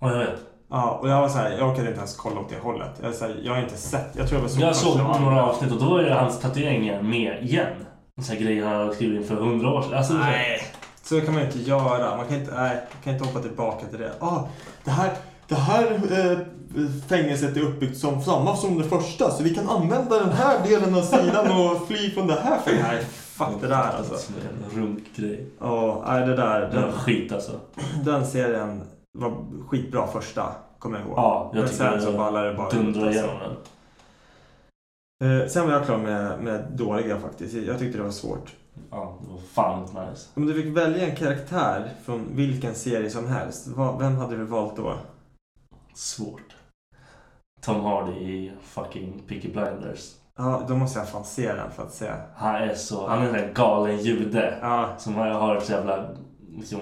Ja, jag vet.
Ja, och jag var så här, jag orkade inte ens kolla åt det hållet. Jag, är så här, jag har inte sett. Jag tror jag var så
Jag såg några avsnitt och då var ju hans tatueringar med igen. En sån här grej han hade skrivit in för hundra år sedan. Alltså, det är så här-
Nej, så kan man ju inte göra. Man kan inte, nej, man kan inte hoppa tillbaka till det. Ah, det här, det här eh, fängelset är uppbyggt som samma som det första. Så vi kan använda den här delen av sidan och fly från det här fängelset. Nej, fuck det där alltså.
Som en runkgrej.
Ja, nej, det där.
Det var
Den,
skit alltså.
den serien var skitbra första, kommer jag ihåg.
Ja, jag
Men
tycker
sen så
det-
ballar det bara
Dundra
alltså.
igenom den.
Eh, Sen var jag klar med, med dåliga faktiskt. Jag tyckte det var svårt.
Ja, det var fan inte nice.
Om du fick välja en karaktär från vilken serie som helst, vad, vem hade du valt då?
Svårt. Tom Hardy i fucking Peaky Blinders.
Ja, då måste jag fan se den för att se.
Han är så... Han är en sån här galen jude.
Ja,
Som har- har ett jävla... Liksom,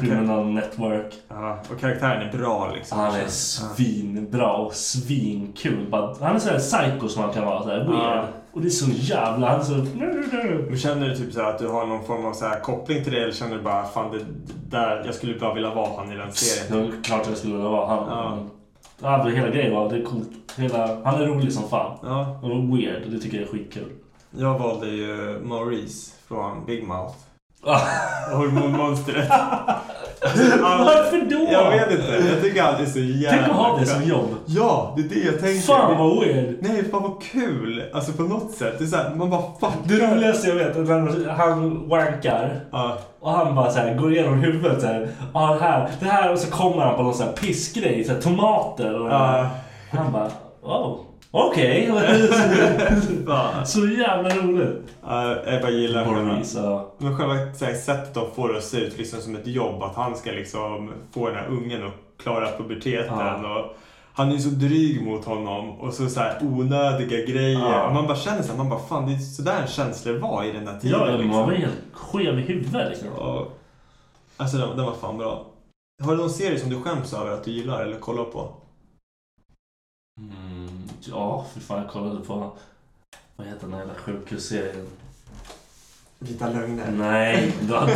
criminal network.
ja, och karaktären är bra liksom.
Han är svinbra och svinkul. Bara- Han är sån här psycho som han kan vara. Så här, weird.
Ja.
Och det är så jävla... Han är så... Nu, nu, nu.
Men känner du typ så här att du har någon form av så här koppling till det eller känner du bara fan det det där, jag skulle bara vilja vara han i den
Det
serien?
var klart jag skulle vilja vara han.
Ja.
Ja, det hela grejen var... Det är coolt. Hela, han är rolig som fan.
Ja,
Och weird. Och det tycker jag är skitkul.
jag valde ju Maurice från Big Mouth.
Ah.
Hormonmonstret.
Varför då?
Jag vet inte, jag tycker han är så jävla
Tänk att ha det som
skön.
jobb.
Ja, det är det jag tänker.
Fan vad weird.
Nej, fan vad kul! Alltså på något sätt. Det är såhär, man bara fuck
Det
här-
roligaste jag vet är när han wankar
Ja,
och han bara så här går igenom huvudet så här. Ja, det här, det här och så kommer han på någon sån här pissgrej, så här tomater och
Ja.
han bara oh, okej.
fan.
så jävla roligt.
Ja, jag bara Ah, gillar själva.
Boris, ja.
Men själva så här, sättet de får det att se ut liksom som ett jobb. Att han ska liksom få den här ungen att klara puberteten. Och han är ju så dryg mot honom och så, så här onödiga grejer.
Ja.
Och man bara känner såhär, man bara fan det är sådär känslor var i den där tiden.
Ja, ja, man var
liksom.
helt skev i huvudet liksom.
Ja. Alltså den, den var fan bra. Har du någon serie som du skäms över att du gillar eller kollar på?
Mm, ja, för fan jag kollade på vad heter den här jävla sjukhusserien?
Vita lögner.
Nej, det var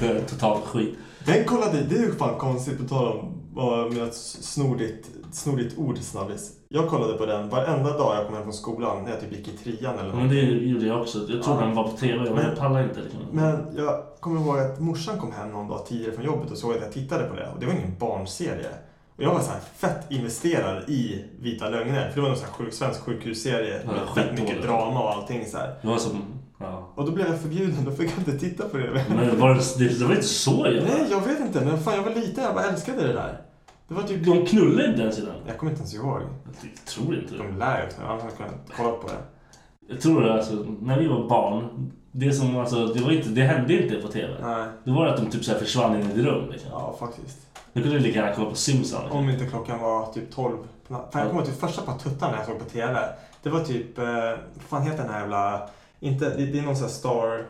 det var totalt skit.
Den kollade, det är ju fan konstigt på tal om vad med ett snordigt, snordigt ord snabbis. Jag kollade på den varenda dag jag kom hem från skolan när jag typ gick i trean eller
Ja, Men
något.
det gjorde jag också. Jag tror
Ja.
den var på TV, men jag pallar inte. Liksom.
Men jag kommer ihåg att morsan kom hem någon dag tidigare från jobbet och såg att jag tittade på det och det var ingen barnserie. Och jag var så här fett investerad i Vita Lögner för det var någon sån här sjuk, svensk sjukhusserie
Ja,
med fett mycket
skitdåligt.
drama och allting så här.
Det var som... Ja.
Och då blev jag förbjuden, då fick jag inte titta på det.
Men var det, det, det var inte så jävla...
Nej, jag vet inte, men fan jag var liten, jag bara älskade det där. Det var typ...
De knullade inte ens i den.
Jag kommer inte ens ihåg.
Jag tror inte det.
De lär ju knappt, annars hade jag kunnat kolla på det.
Jag tror det, alltså, när vi var barn. Det som alltså, det var inte, det hände inte på TV.
Nej.
Det var att de typ så här försvann in i ett rum liksom.
Ja, faktiskt.
Nu kunde du lika gärna kolla på Simpsons. Liksom.
Om inte klockan var typ 12. på natten. Fan, jag kommer ihåg typ första par tuttarna jag såg på TV. Det var typ, eh, vad fan heter den här jävla, inte, det, det är någon sån här Star,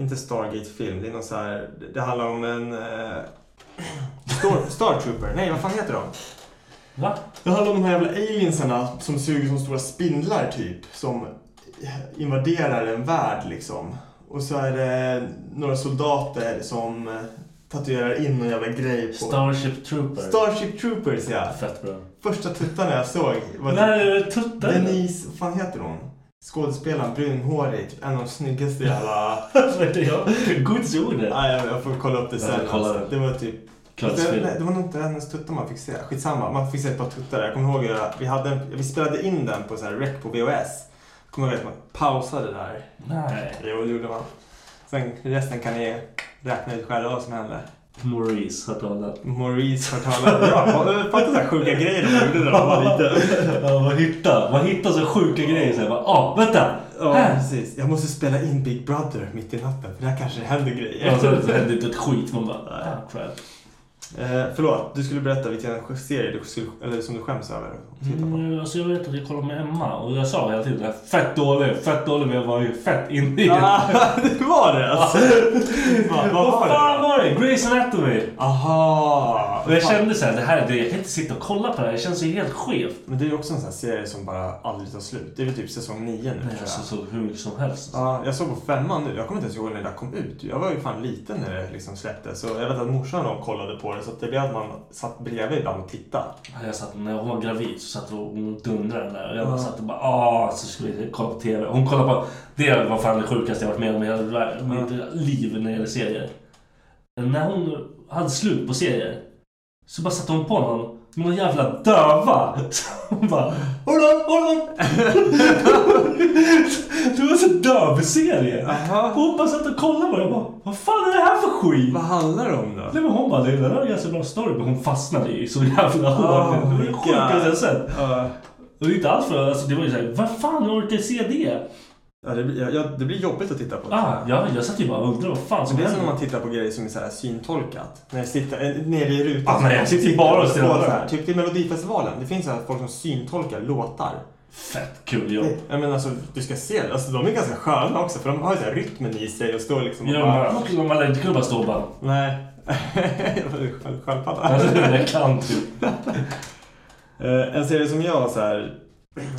inte Stargate-film, det är någon sån här, det- det handlar om en, eh, Star, Star Trooper, nej vad fan heter de?
Va?
Det handlar om de här jävla aliensarna som suger som stora spindlar typ. Som invaderar en värld liksom. Och så är det några soldater som eh, tatuerar in någon jävla grej på...
Starship Trooper.
Starship Troopers ja.
Fett bra.
Första tuttarna jag såg var
När är det
typ
tuttar?
Denise, vad fan heter hon? Skådespelaren, brunhårig, typ en av de snyggaste jävla...
Alltså, Jag kommer inte ihåg det.
Nej, jag, jag får kolla upp det
Jag
sen.
får kolla
Alltså.
det.
Det var typ
Klart
det,
spel.
nej, det var nog inte hennes tuttar man fick se. Skitsamma, man fick se ett par tuttar. Jag kommer ihåg att vi, hade en, vi spelade in den på så här rec på VHS. Kommer du ihåg att man pausade där?
Nej.
Jo, det gjorde man. Sen resten kan ni räkna ut själva vad som hände.
Maurice har talat.
Maurice förtalade. Ja, fatta så här sjuka grejer de gjorde när de var liten.
Ja, vad hitta? Vad hitta så sjuka grejer? Så jag bara, ah, vänta!
Ja,
Här!
precis. Jag måste spela in Big Brother mitt i natten för där kanske det händer grejer.
Och så så hände inte ett skit. Man bara, ah, crap.
Eh, förlåt, du skulle berätta vilken serie du skulle, eller som du skäms över att titta på.
Mm, alltså jag vet att jag kollade med Emma och jag sa hela tiden det här, fett dålig, fett dålig men jag var ju fett inne i det.
Ah, det var det alltså? Fan, vad var
Vad fan
det?
var det? Grey's Anatomy!
Aha!
Och jag kände såhär, det här, det, jag kan inte sitta och kolla på det här, det känns ju helt skevt.
Men det är ju också en sån här serie som bara aldrig tar slut. Det är väl typ säsong nio nu tror
Jag
jag.
alltså, såg hur mycket som helst.
Ja, jag såg på femman nu. Jag kommer inte ens ihåg när det där kom ut. Jag var ju fan liten när det liksom släpptes. Så jag vet att morsan och de kollade på det så att det blev att man satt bredvid ibland och tittade.
Jag satt, när hon var gravid så satt hon och dundrade den där och jag bara satt och bara ah, så skulle vi kolla på TV. Hon kollade på, det var fan det sjukaste jag varit med om i hela världen, mitt liv när det gäller serier. När hon hade slut på serier så bara satte hon på någon, någon jävla döva. Så hon bara hold on, hold on. det var en sån dövserie.
Aha.
Hon bara satt och kollade på det och bara vad fan är det här för skit?
Vad handlar det om då?
Nej men hon bara, det där är en ganska bra story. Men hon fastnade ju så jävla hårt.
Oh
det var
my
det sjukaste
God.
jag sett.
Ja.
Och det är inte alls för alltså, det var ju såhär, vad fan jag orkar se det?
Ja, det, blir, ja, ja, det blir jobbigt att titta på.
Ah, jag, jag satt ju bara och undrade vad fan som
Det är som när
hände.
man tittar på grejer som är så här syntolkat. När det sitter eh, nere i rutan.
Ah, nej, jag sitter ju bara och stirrar på det.
Så här, Typ till Melodifestivalen. Det finns så här folk som syntolkar låtar.
Fett kul jobb.
Jag menar alltså, du ska se det. Alltså, de är ganska sköna också för de har ju så här rytmen i sig och står liksom och
Jag
bara...
bara, de hade inte kunnat bara stå och bara,
Nej. Jag var ju sköld- Sköldpadda.
alltså jag kan typ.
Eh, En serie som jag så här...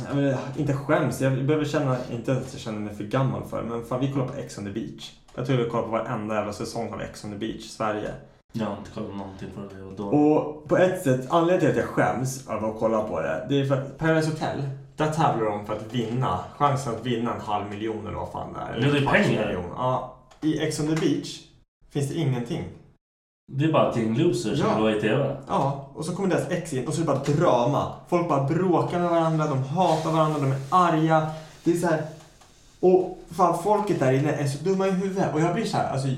jag menar, inte skäms, jag behöver känna, inte ens att jag känner mig för gammal för, men fan vi kollar på Ex on the beach. Jag tror vi kollar på varenda jävla säsong av Ex on the beach, Sverige.
Jag har inte kollat någonting på det, jag var dålig.
Och på ett sätt, anledningen till att jag skäms över att kolla på det, det är för att Paradise Hotel, där tävlar de för att vinna, chansen att vinna en halv miljon eller vad fan det är.
Ja, det är
En kvarts
pengar.
miljon. Ja, I Ex on the beach finns det ingenting.
Det är bara ett gäng losers som
Ja.
var i TV.
Ja, och så kommer deras ex in och så är det bara drama. Folk bara bråkar med varandra, de hatar varandra, de är arga. Det är så här... Och fan, folket där inne är så dumma i huvudet. Och jag blir så här, alltså,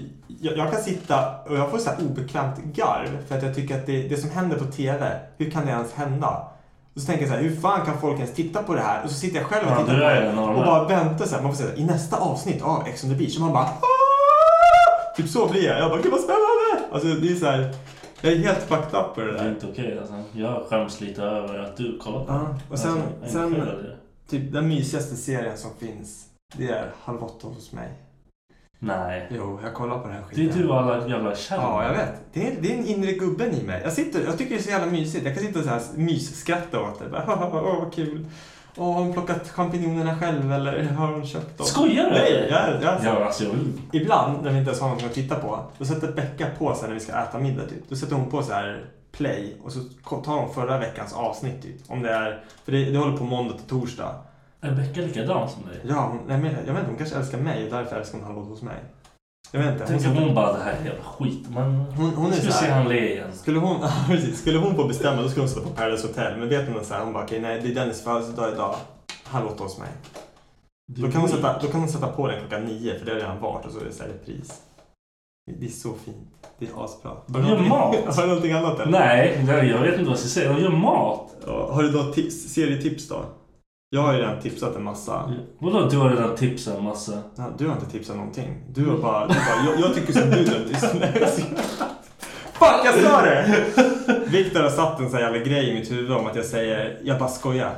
jag, jag kan sitta och jag får så här obekvämt garv för att jag tycker att det, det som händer på TV, hur kan det ens hända? Och så tänker jag så här, hur fan kan folk ens titta på det här? Och så sitter jag själv och
Ja,
tittar
det
på
där är
det
en av de
och
här.
bara väntar så här. Man får säga i nästa avsnitt av Ex on the beach. Och man bara Typ så blir jag. Jag bara, gud vad spännande! Alltså det är så här, jag är helt fucked up på det
Det är
där.
inte okej alltså. Jag skäms lite över att du kollar på det.
Ja, och sen-
Alltså, jag är
sen-
inte själv i det.
Typ den mysigaste serien som finns, det är Halv åtta hos mig.
Nej.
Jo, jag kollar på den här
Det är
skiten.
du och alla jävla kärringar.
Ja, jag vet. Det är, det är den inre gubben i mig. Jag, sitter, jag tycker det är så jävla mysigt. Jag kan sitta och så här mysskratta åt det. Bara, Åh, vad kul. Åh, har hon plockat champinjonerna själv eller har hon köpt dem?
Skojar du?
Nej, jag, jag,
Ja, alltså jag vill
Ibland när vi inte ens har något att titta på, då sätter Becka på sig när vi ska äta middag typ. Då sätter hon på så här play och så tar hon förra veckans avsnitt typ. Om det är, för det, det håller på måndag till torsdag.
Är Becka likadan som dig?
Ja, hon, nej, men, jag vet inte, hon kanske älskar mig och därför älskar hon Halv åtta hos mig. Jag vet inte. Hon,
Tänker
sätter,
hon bara det här är jävla skit. Man...
Hon- hon är
ska
så här-
se han le igen.
skulle, hon, ja, precis, skulle hon få bestämma då skulle hon sätta på Paradise Hotel. Men vet hon att så här, hon bara okej nej det är Dennis födelsedag idag. Halv åtta hos mig.
Du
Då kan, hon
skit.
sätta, då kan hon sätta på den klockan nio för det har redan varit och så är det så här repris. Det det är så fint. Det är asbra. Har du
Gör
någonting-
mat.
Har du någonting annat eller?
Nej, nej, jag vet inte vad jag ska säga. De gör mat.
Ja, har du något tips, serietips då? Jag har ju redan tipsat en massa.
Mm. Vadå du har redan tipsat en massa?
Ja, Du har inte tipsat någonting. Du
Mm.
har bara... Du bara jag, jag tycker som du nu. Fuck, jag sa det! Viktor har satt en sån här jävla grej i mitt huvud om att jag säger jag bara skojar.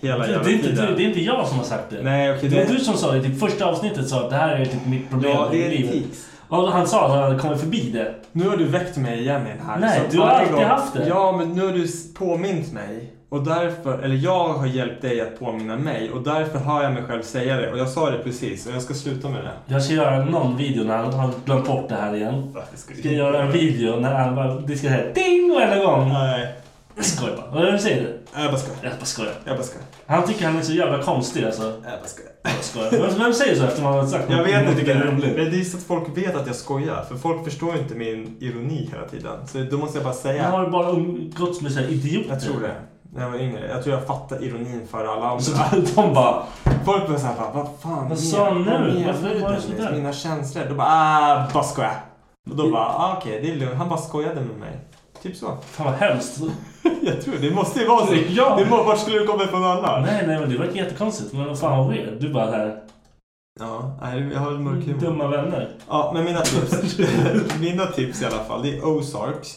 Hela
Det,
jävla
det, är inte, typ du,
tiden.
det är inte jag som har sagt det.
Nej, okej.
Det var
det-
du som sa det. Typ första avsnittet sa att det här är typ mitt problem
Ja, det är
i livet.
tics.
Och han sa att han hade kommit förbi det.
Nu har du väckt mig igen i den här.
Nej,
Så
du har
varje
alltid
gång-
haft det.
Ja, men nu har du s- påmint mig. Och därför, eller jag har hjälpt dig att påminna mig och därför hör jag mig själv säga det. Och jag sa det precis och jag ska sluta med det.
Jag ska göra någon video när han har glömt bort det här igen. Ska jag göra en video när han bara... Det ska säga ding varenda gång.
Nej,
Jag skojar bara. Vad är det du säger?
jag bara skojar.
Jag bara skojar.
Jag bara skojar.
Han tycker han är så jävla konstig alltså.
Jag bara skojar.
Skojar. Vem- Vem säger så efter man har sagt
Jag vet inte,
det är
men
roligt?
det är just att folk vet att jag skojar. För folk förstår inte min ironi hela tiden. Så då måste jag bara
Jag
säga.
har bara umgåtts um- med så här idioter.
Jag tror det. när jag var yngre. Jag tror jag fattade ironin före alla andra.
Så de bara...
Folk blir såhär bara, vad fan
Vad sa han
menar-
nu?
menar
Varför
du,
var det så
Dennis?
där?
Mina känslor. Då bara, ah, bara skoja. Och då bara, ah, okej, det är lugnt. Han bara skojade med mig. Typ så.
Fan vad hemskt.
Jag tror det måste ju vara så.
Ja.
Det må, vart skulle du komma ifrån annars?
Nej, nej, men det verkar jättekonstigt. Men vad fan vad weird. Du bara här...
Ja, nej, jag har väl mörk humor.
Dumma vänner.
Ja, men mina tips. mina tips i alla fall, det är Ozarks.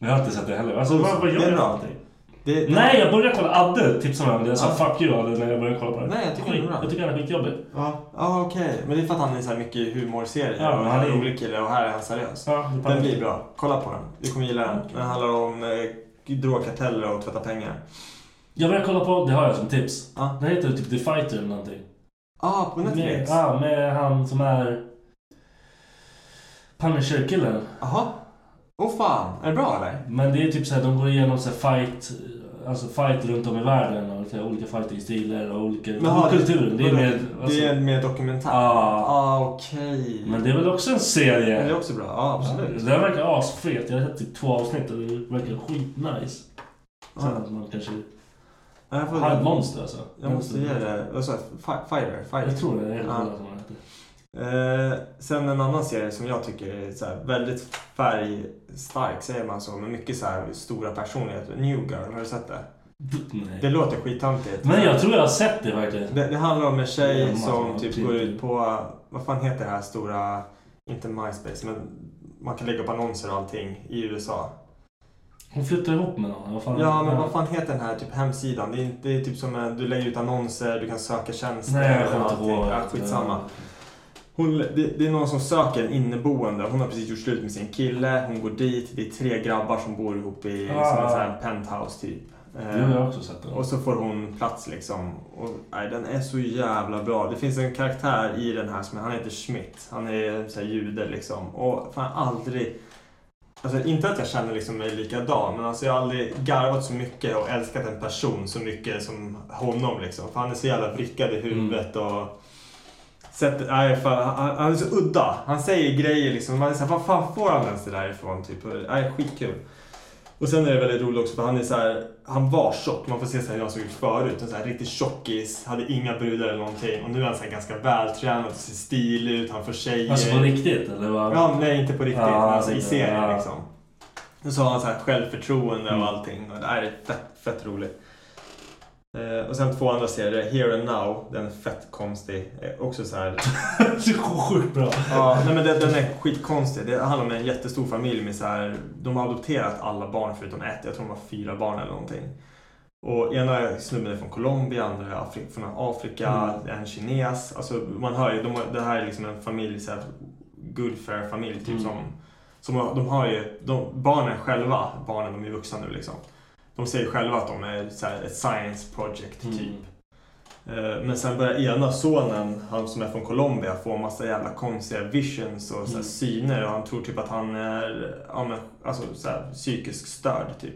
Jag har inte sett det heller. Alltså, vad, vad
Det
gör
är
jag för
bra.
någonting?
Det, det,
Nej, jag började kolla Adde tipsade mig om det. Jag sa
Ja.
fuck you Adde när jag började kolla på det.
Nej, jag tycker det är
Skit-
bra.
Jag tycker han är skitjobbig.
Ja, ah, okej. Men det är för att han är så här mycket humorserier.
Ja,
och
men
han är
han
en
är-
rolig kille och här är han seriös.
Ja, det
den blir bra. Kolla på den. Du kommer gilla den. Den handlar om eh, drogkarteller och tvätta pengar.
Jag började kolla på, det har jag som tips.
Ja.
Den heter typ The Fighter eller någonting.
Ah, på
Med,
Netflix? Jaha.
ja, med han som är... Punisher-killen.
Åh fan, är det bra eller?
Men det är typ såhär, de går igenom så här fight... Alltså fight runt om i världen och så här, olika fighting-stilar och olika...
Jaha,
kulturen. Det är med... Alltså,
Det är mer dokumentär?
Ja.
Ah, okej.
Men det är Mm. väl också en serie?
Men Det är också bra. Ja, absolut.
Det där verkar asfet. Jag har sett typ två avsnitt och det verkar skitnice. Sen att man kanske...
Ja, jag, får,
Han är ett monster alltså.
jag måste ge det. Vad sa jag? Fi- Fighter? Fighter.
Jag tror det. Jag vet inte
Ja.
vad han heter.
Eh, sen en annan serie som jag tycker är så här väldigt färgstark, säger man så, men mycket så här stora personligheter. New Girl, har du sett det? Det
Nej.
låter skittöntigt.
Men jag tror jag har sett det verkligen.
Det, det handlar om en
Det är
tjej
en
som
massa
typ
typ.
går ut på, vad fan heter det här stora, inte MySpace, men man kan lägga upp annonser och allting i USA.
Hon flyttar ihop med någon. Vad fan
Ja, men vad fan heter den här typ hemsidan? Det är, det är typ som en, du lägger ut annonser, du kan söka tjänster.
Nej, jag
och
kommer inte
allting.
ihåg.
Ja, skitsamma. Hon, det, det är någon som söker en inneboende. Hon har precis gjort slut med sin kille. Hon går dit. Det är tre grabbar som bor ihop i
Ah.
som en sån här penthouse typ.
Det har jag också sett.
Och så får hon plats liksom. Och, nej, den är så jävla bra. Det finns en karaktär i den här som han heter Schmidt. Han är så här jude liksom. Och fan aldrig... Alltså inte att jag känner liksom mig likadan men alltså jag har aldrig garvat så mycket och älskat en person så mycket som honom liksom. För han är så jävla vrickad i huvudet och... Sätt, nej, fan, han, han är så udda. Han säger grejer liksom. Man är så här, vad fan får han ens det där ifrån? Typ. Och, Nej, skitkul. Och sen är det väldigt roligt också för han är så här, han var tjock. Man får se så här hur han såg ut förut. En så här riktig tjockis, hade inga brudar eller någonting. Och nu är han så här ganska vältränad och ser stilig ut. Han får tjejer.
Alltså på riktigt eller? Vad?
Ja, men nej inte på riktigt.
Ja,
men alltså i
det-
serien
ja. Mm.
liksom. Och så har han så här självförtroende och allting. Och det här är fett, fett roligt. Eh, och sen två andra serier. Here and Now. Den är fett konstig. Eh, också så här
Det är sjukt bra.
Ja, nej men den, den är skitkonstig. Det handlar om en jättestor familj med så här, de har adopterat alla barn förutom ett. Jag tror de var fyra barn eller någonting. Och ena snubben är från Colombia, andra är Afri- från Afrika, en kines. Alltså man hör ju, de, har- det här är liksom en familj, så här, good fair familj typ som, som har- de har ju, de, barnen själva, barnen de är vuxna nu liksom. De säger själva att de är så här, ett science project
Mm.
typ. Eh, Men sen börjar ena sonen, han som är från Colombia, få massa jävla konstiga visions och så här syner. Och han tror typ att han är ja, men, alltså, så här, psykiskt störd. Typ.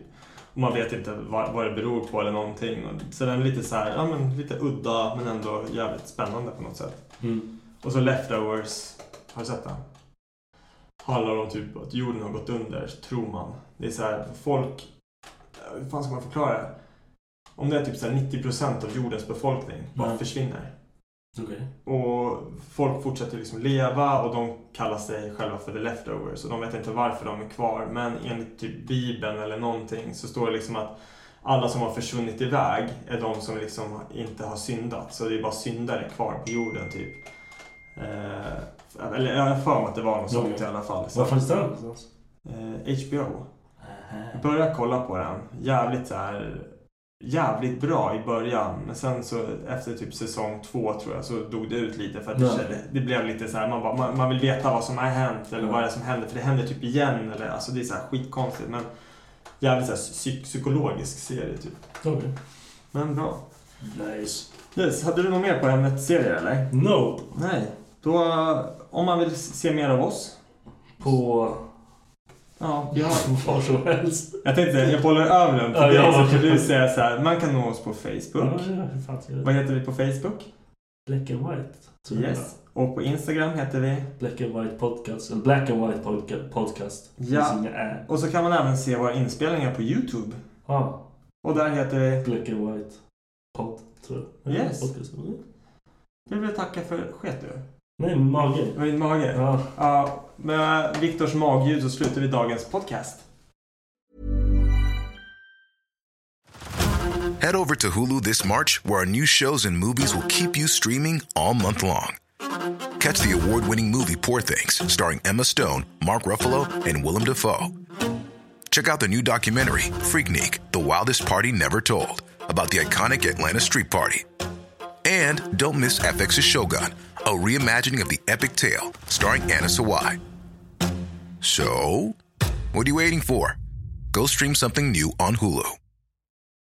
Och man vet inte vad, vad det beror på eller någonting. Och, så den är lite så här, ja, men, lite udda men ändå jävligt spännande på något sätt.
Mm.
Och så Leftovers, har du sett den? Handlar om typ att jorden har gått under, tror man. Det är så här, folk... eh, Hur fan ska man förklara det? Om det är typ så här 90% av jordens befolkning bara
Mm.
försvinner.
Okej.
Och folk fortsätter liksom leva och de kallar sig själva för the leftovers. Och de vet inte varför de är kvar. Men enligt typ Bibeln eller någonting så står det liksom att alla som har försvunnit iväg är de som liksom inte har syndat. Så det är bara syndare kvar på jorden typ. Eh, eller jag har för mig att det var något sånt
Okej.
i alla fall. Så,
Var finns den någonstans?
eh, HBO. Börja kolla på den. Jävligt så här, Jävligt bra i början. Men sen så efter typ säsong två tror jag så dog det ut lite. För att
Ja.
det, det blev lite så här. Man, bara, man, man vill veta vad som har hänt. Eller
Ja.
vad det är som händer. För det händer typ igen. Eller, alltså det är så här skitkonstigt. Men jävligt så här, psyk- psykologisk serie typ.
Okej.
Men bra.
Nice.
Yes, hade du något mer på ämnet serier eller?
Nope.
Nej. Då, om man vill se mer av oss.
På...
Ja, vi har,
Var som helst.
Jag tänkte, jag bollar över den till
Ja,
dig
ja.
så kan du säga så här. Man kan nå oss på Facebook.
Ja, hur fan ska jag-
Vad heter vi på Facebook?
Black and White. tror jag.
Yes. Och på Instagram heter vi.
Black and White Podcast. Eller Black and White podca- Podcast.
Ja.
Det finns inga ä.
Och så kan man även se våra inspelningar på YouTube.
Ja.
Och där heter det...
Black and White podd, tror jag.
Yes.
Podcast.
Jag vill tacka för sket du.
Nej, min mage.
Det var din mage.
Ja.
Ja, med Viktors magljud så slutar vi dagens podcast.
Head over to Hulu this March, where our new shows and movies will keep you streaming all month long. Catch the award winning movie Poor Things, starring Emma Stone, Mark Ruffalo, and Willem Dafoe. Check out the new documentary, Freaknik The Wildest Party Never Told, about the iconic Atlanta Street Party. And don't miss FX's Shogun, a reimagining of the epic tale, starring Anna Sawai. So, what are you waiting for? Go stream something new on Hulu.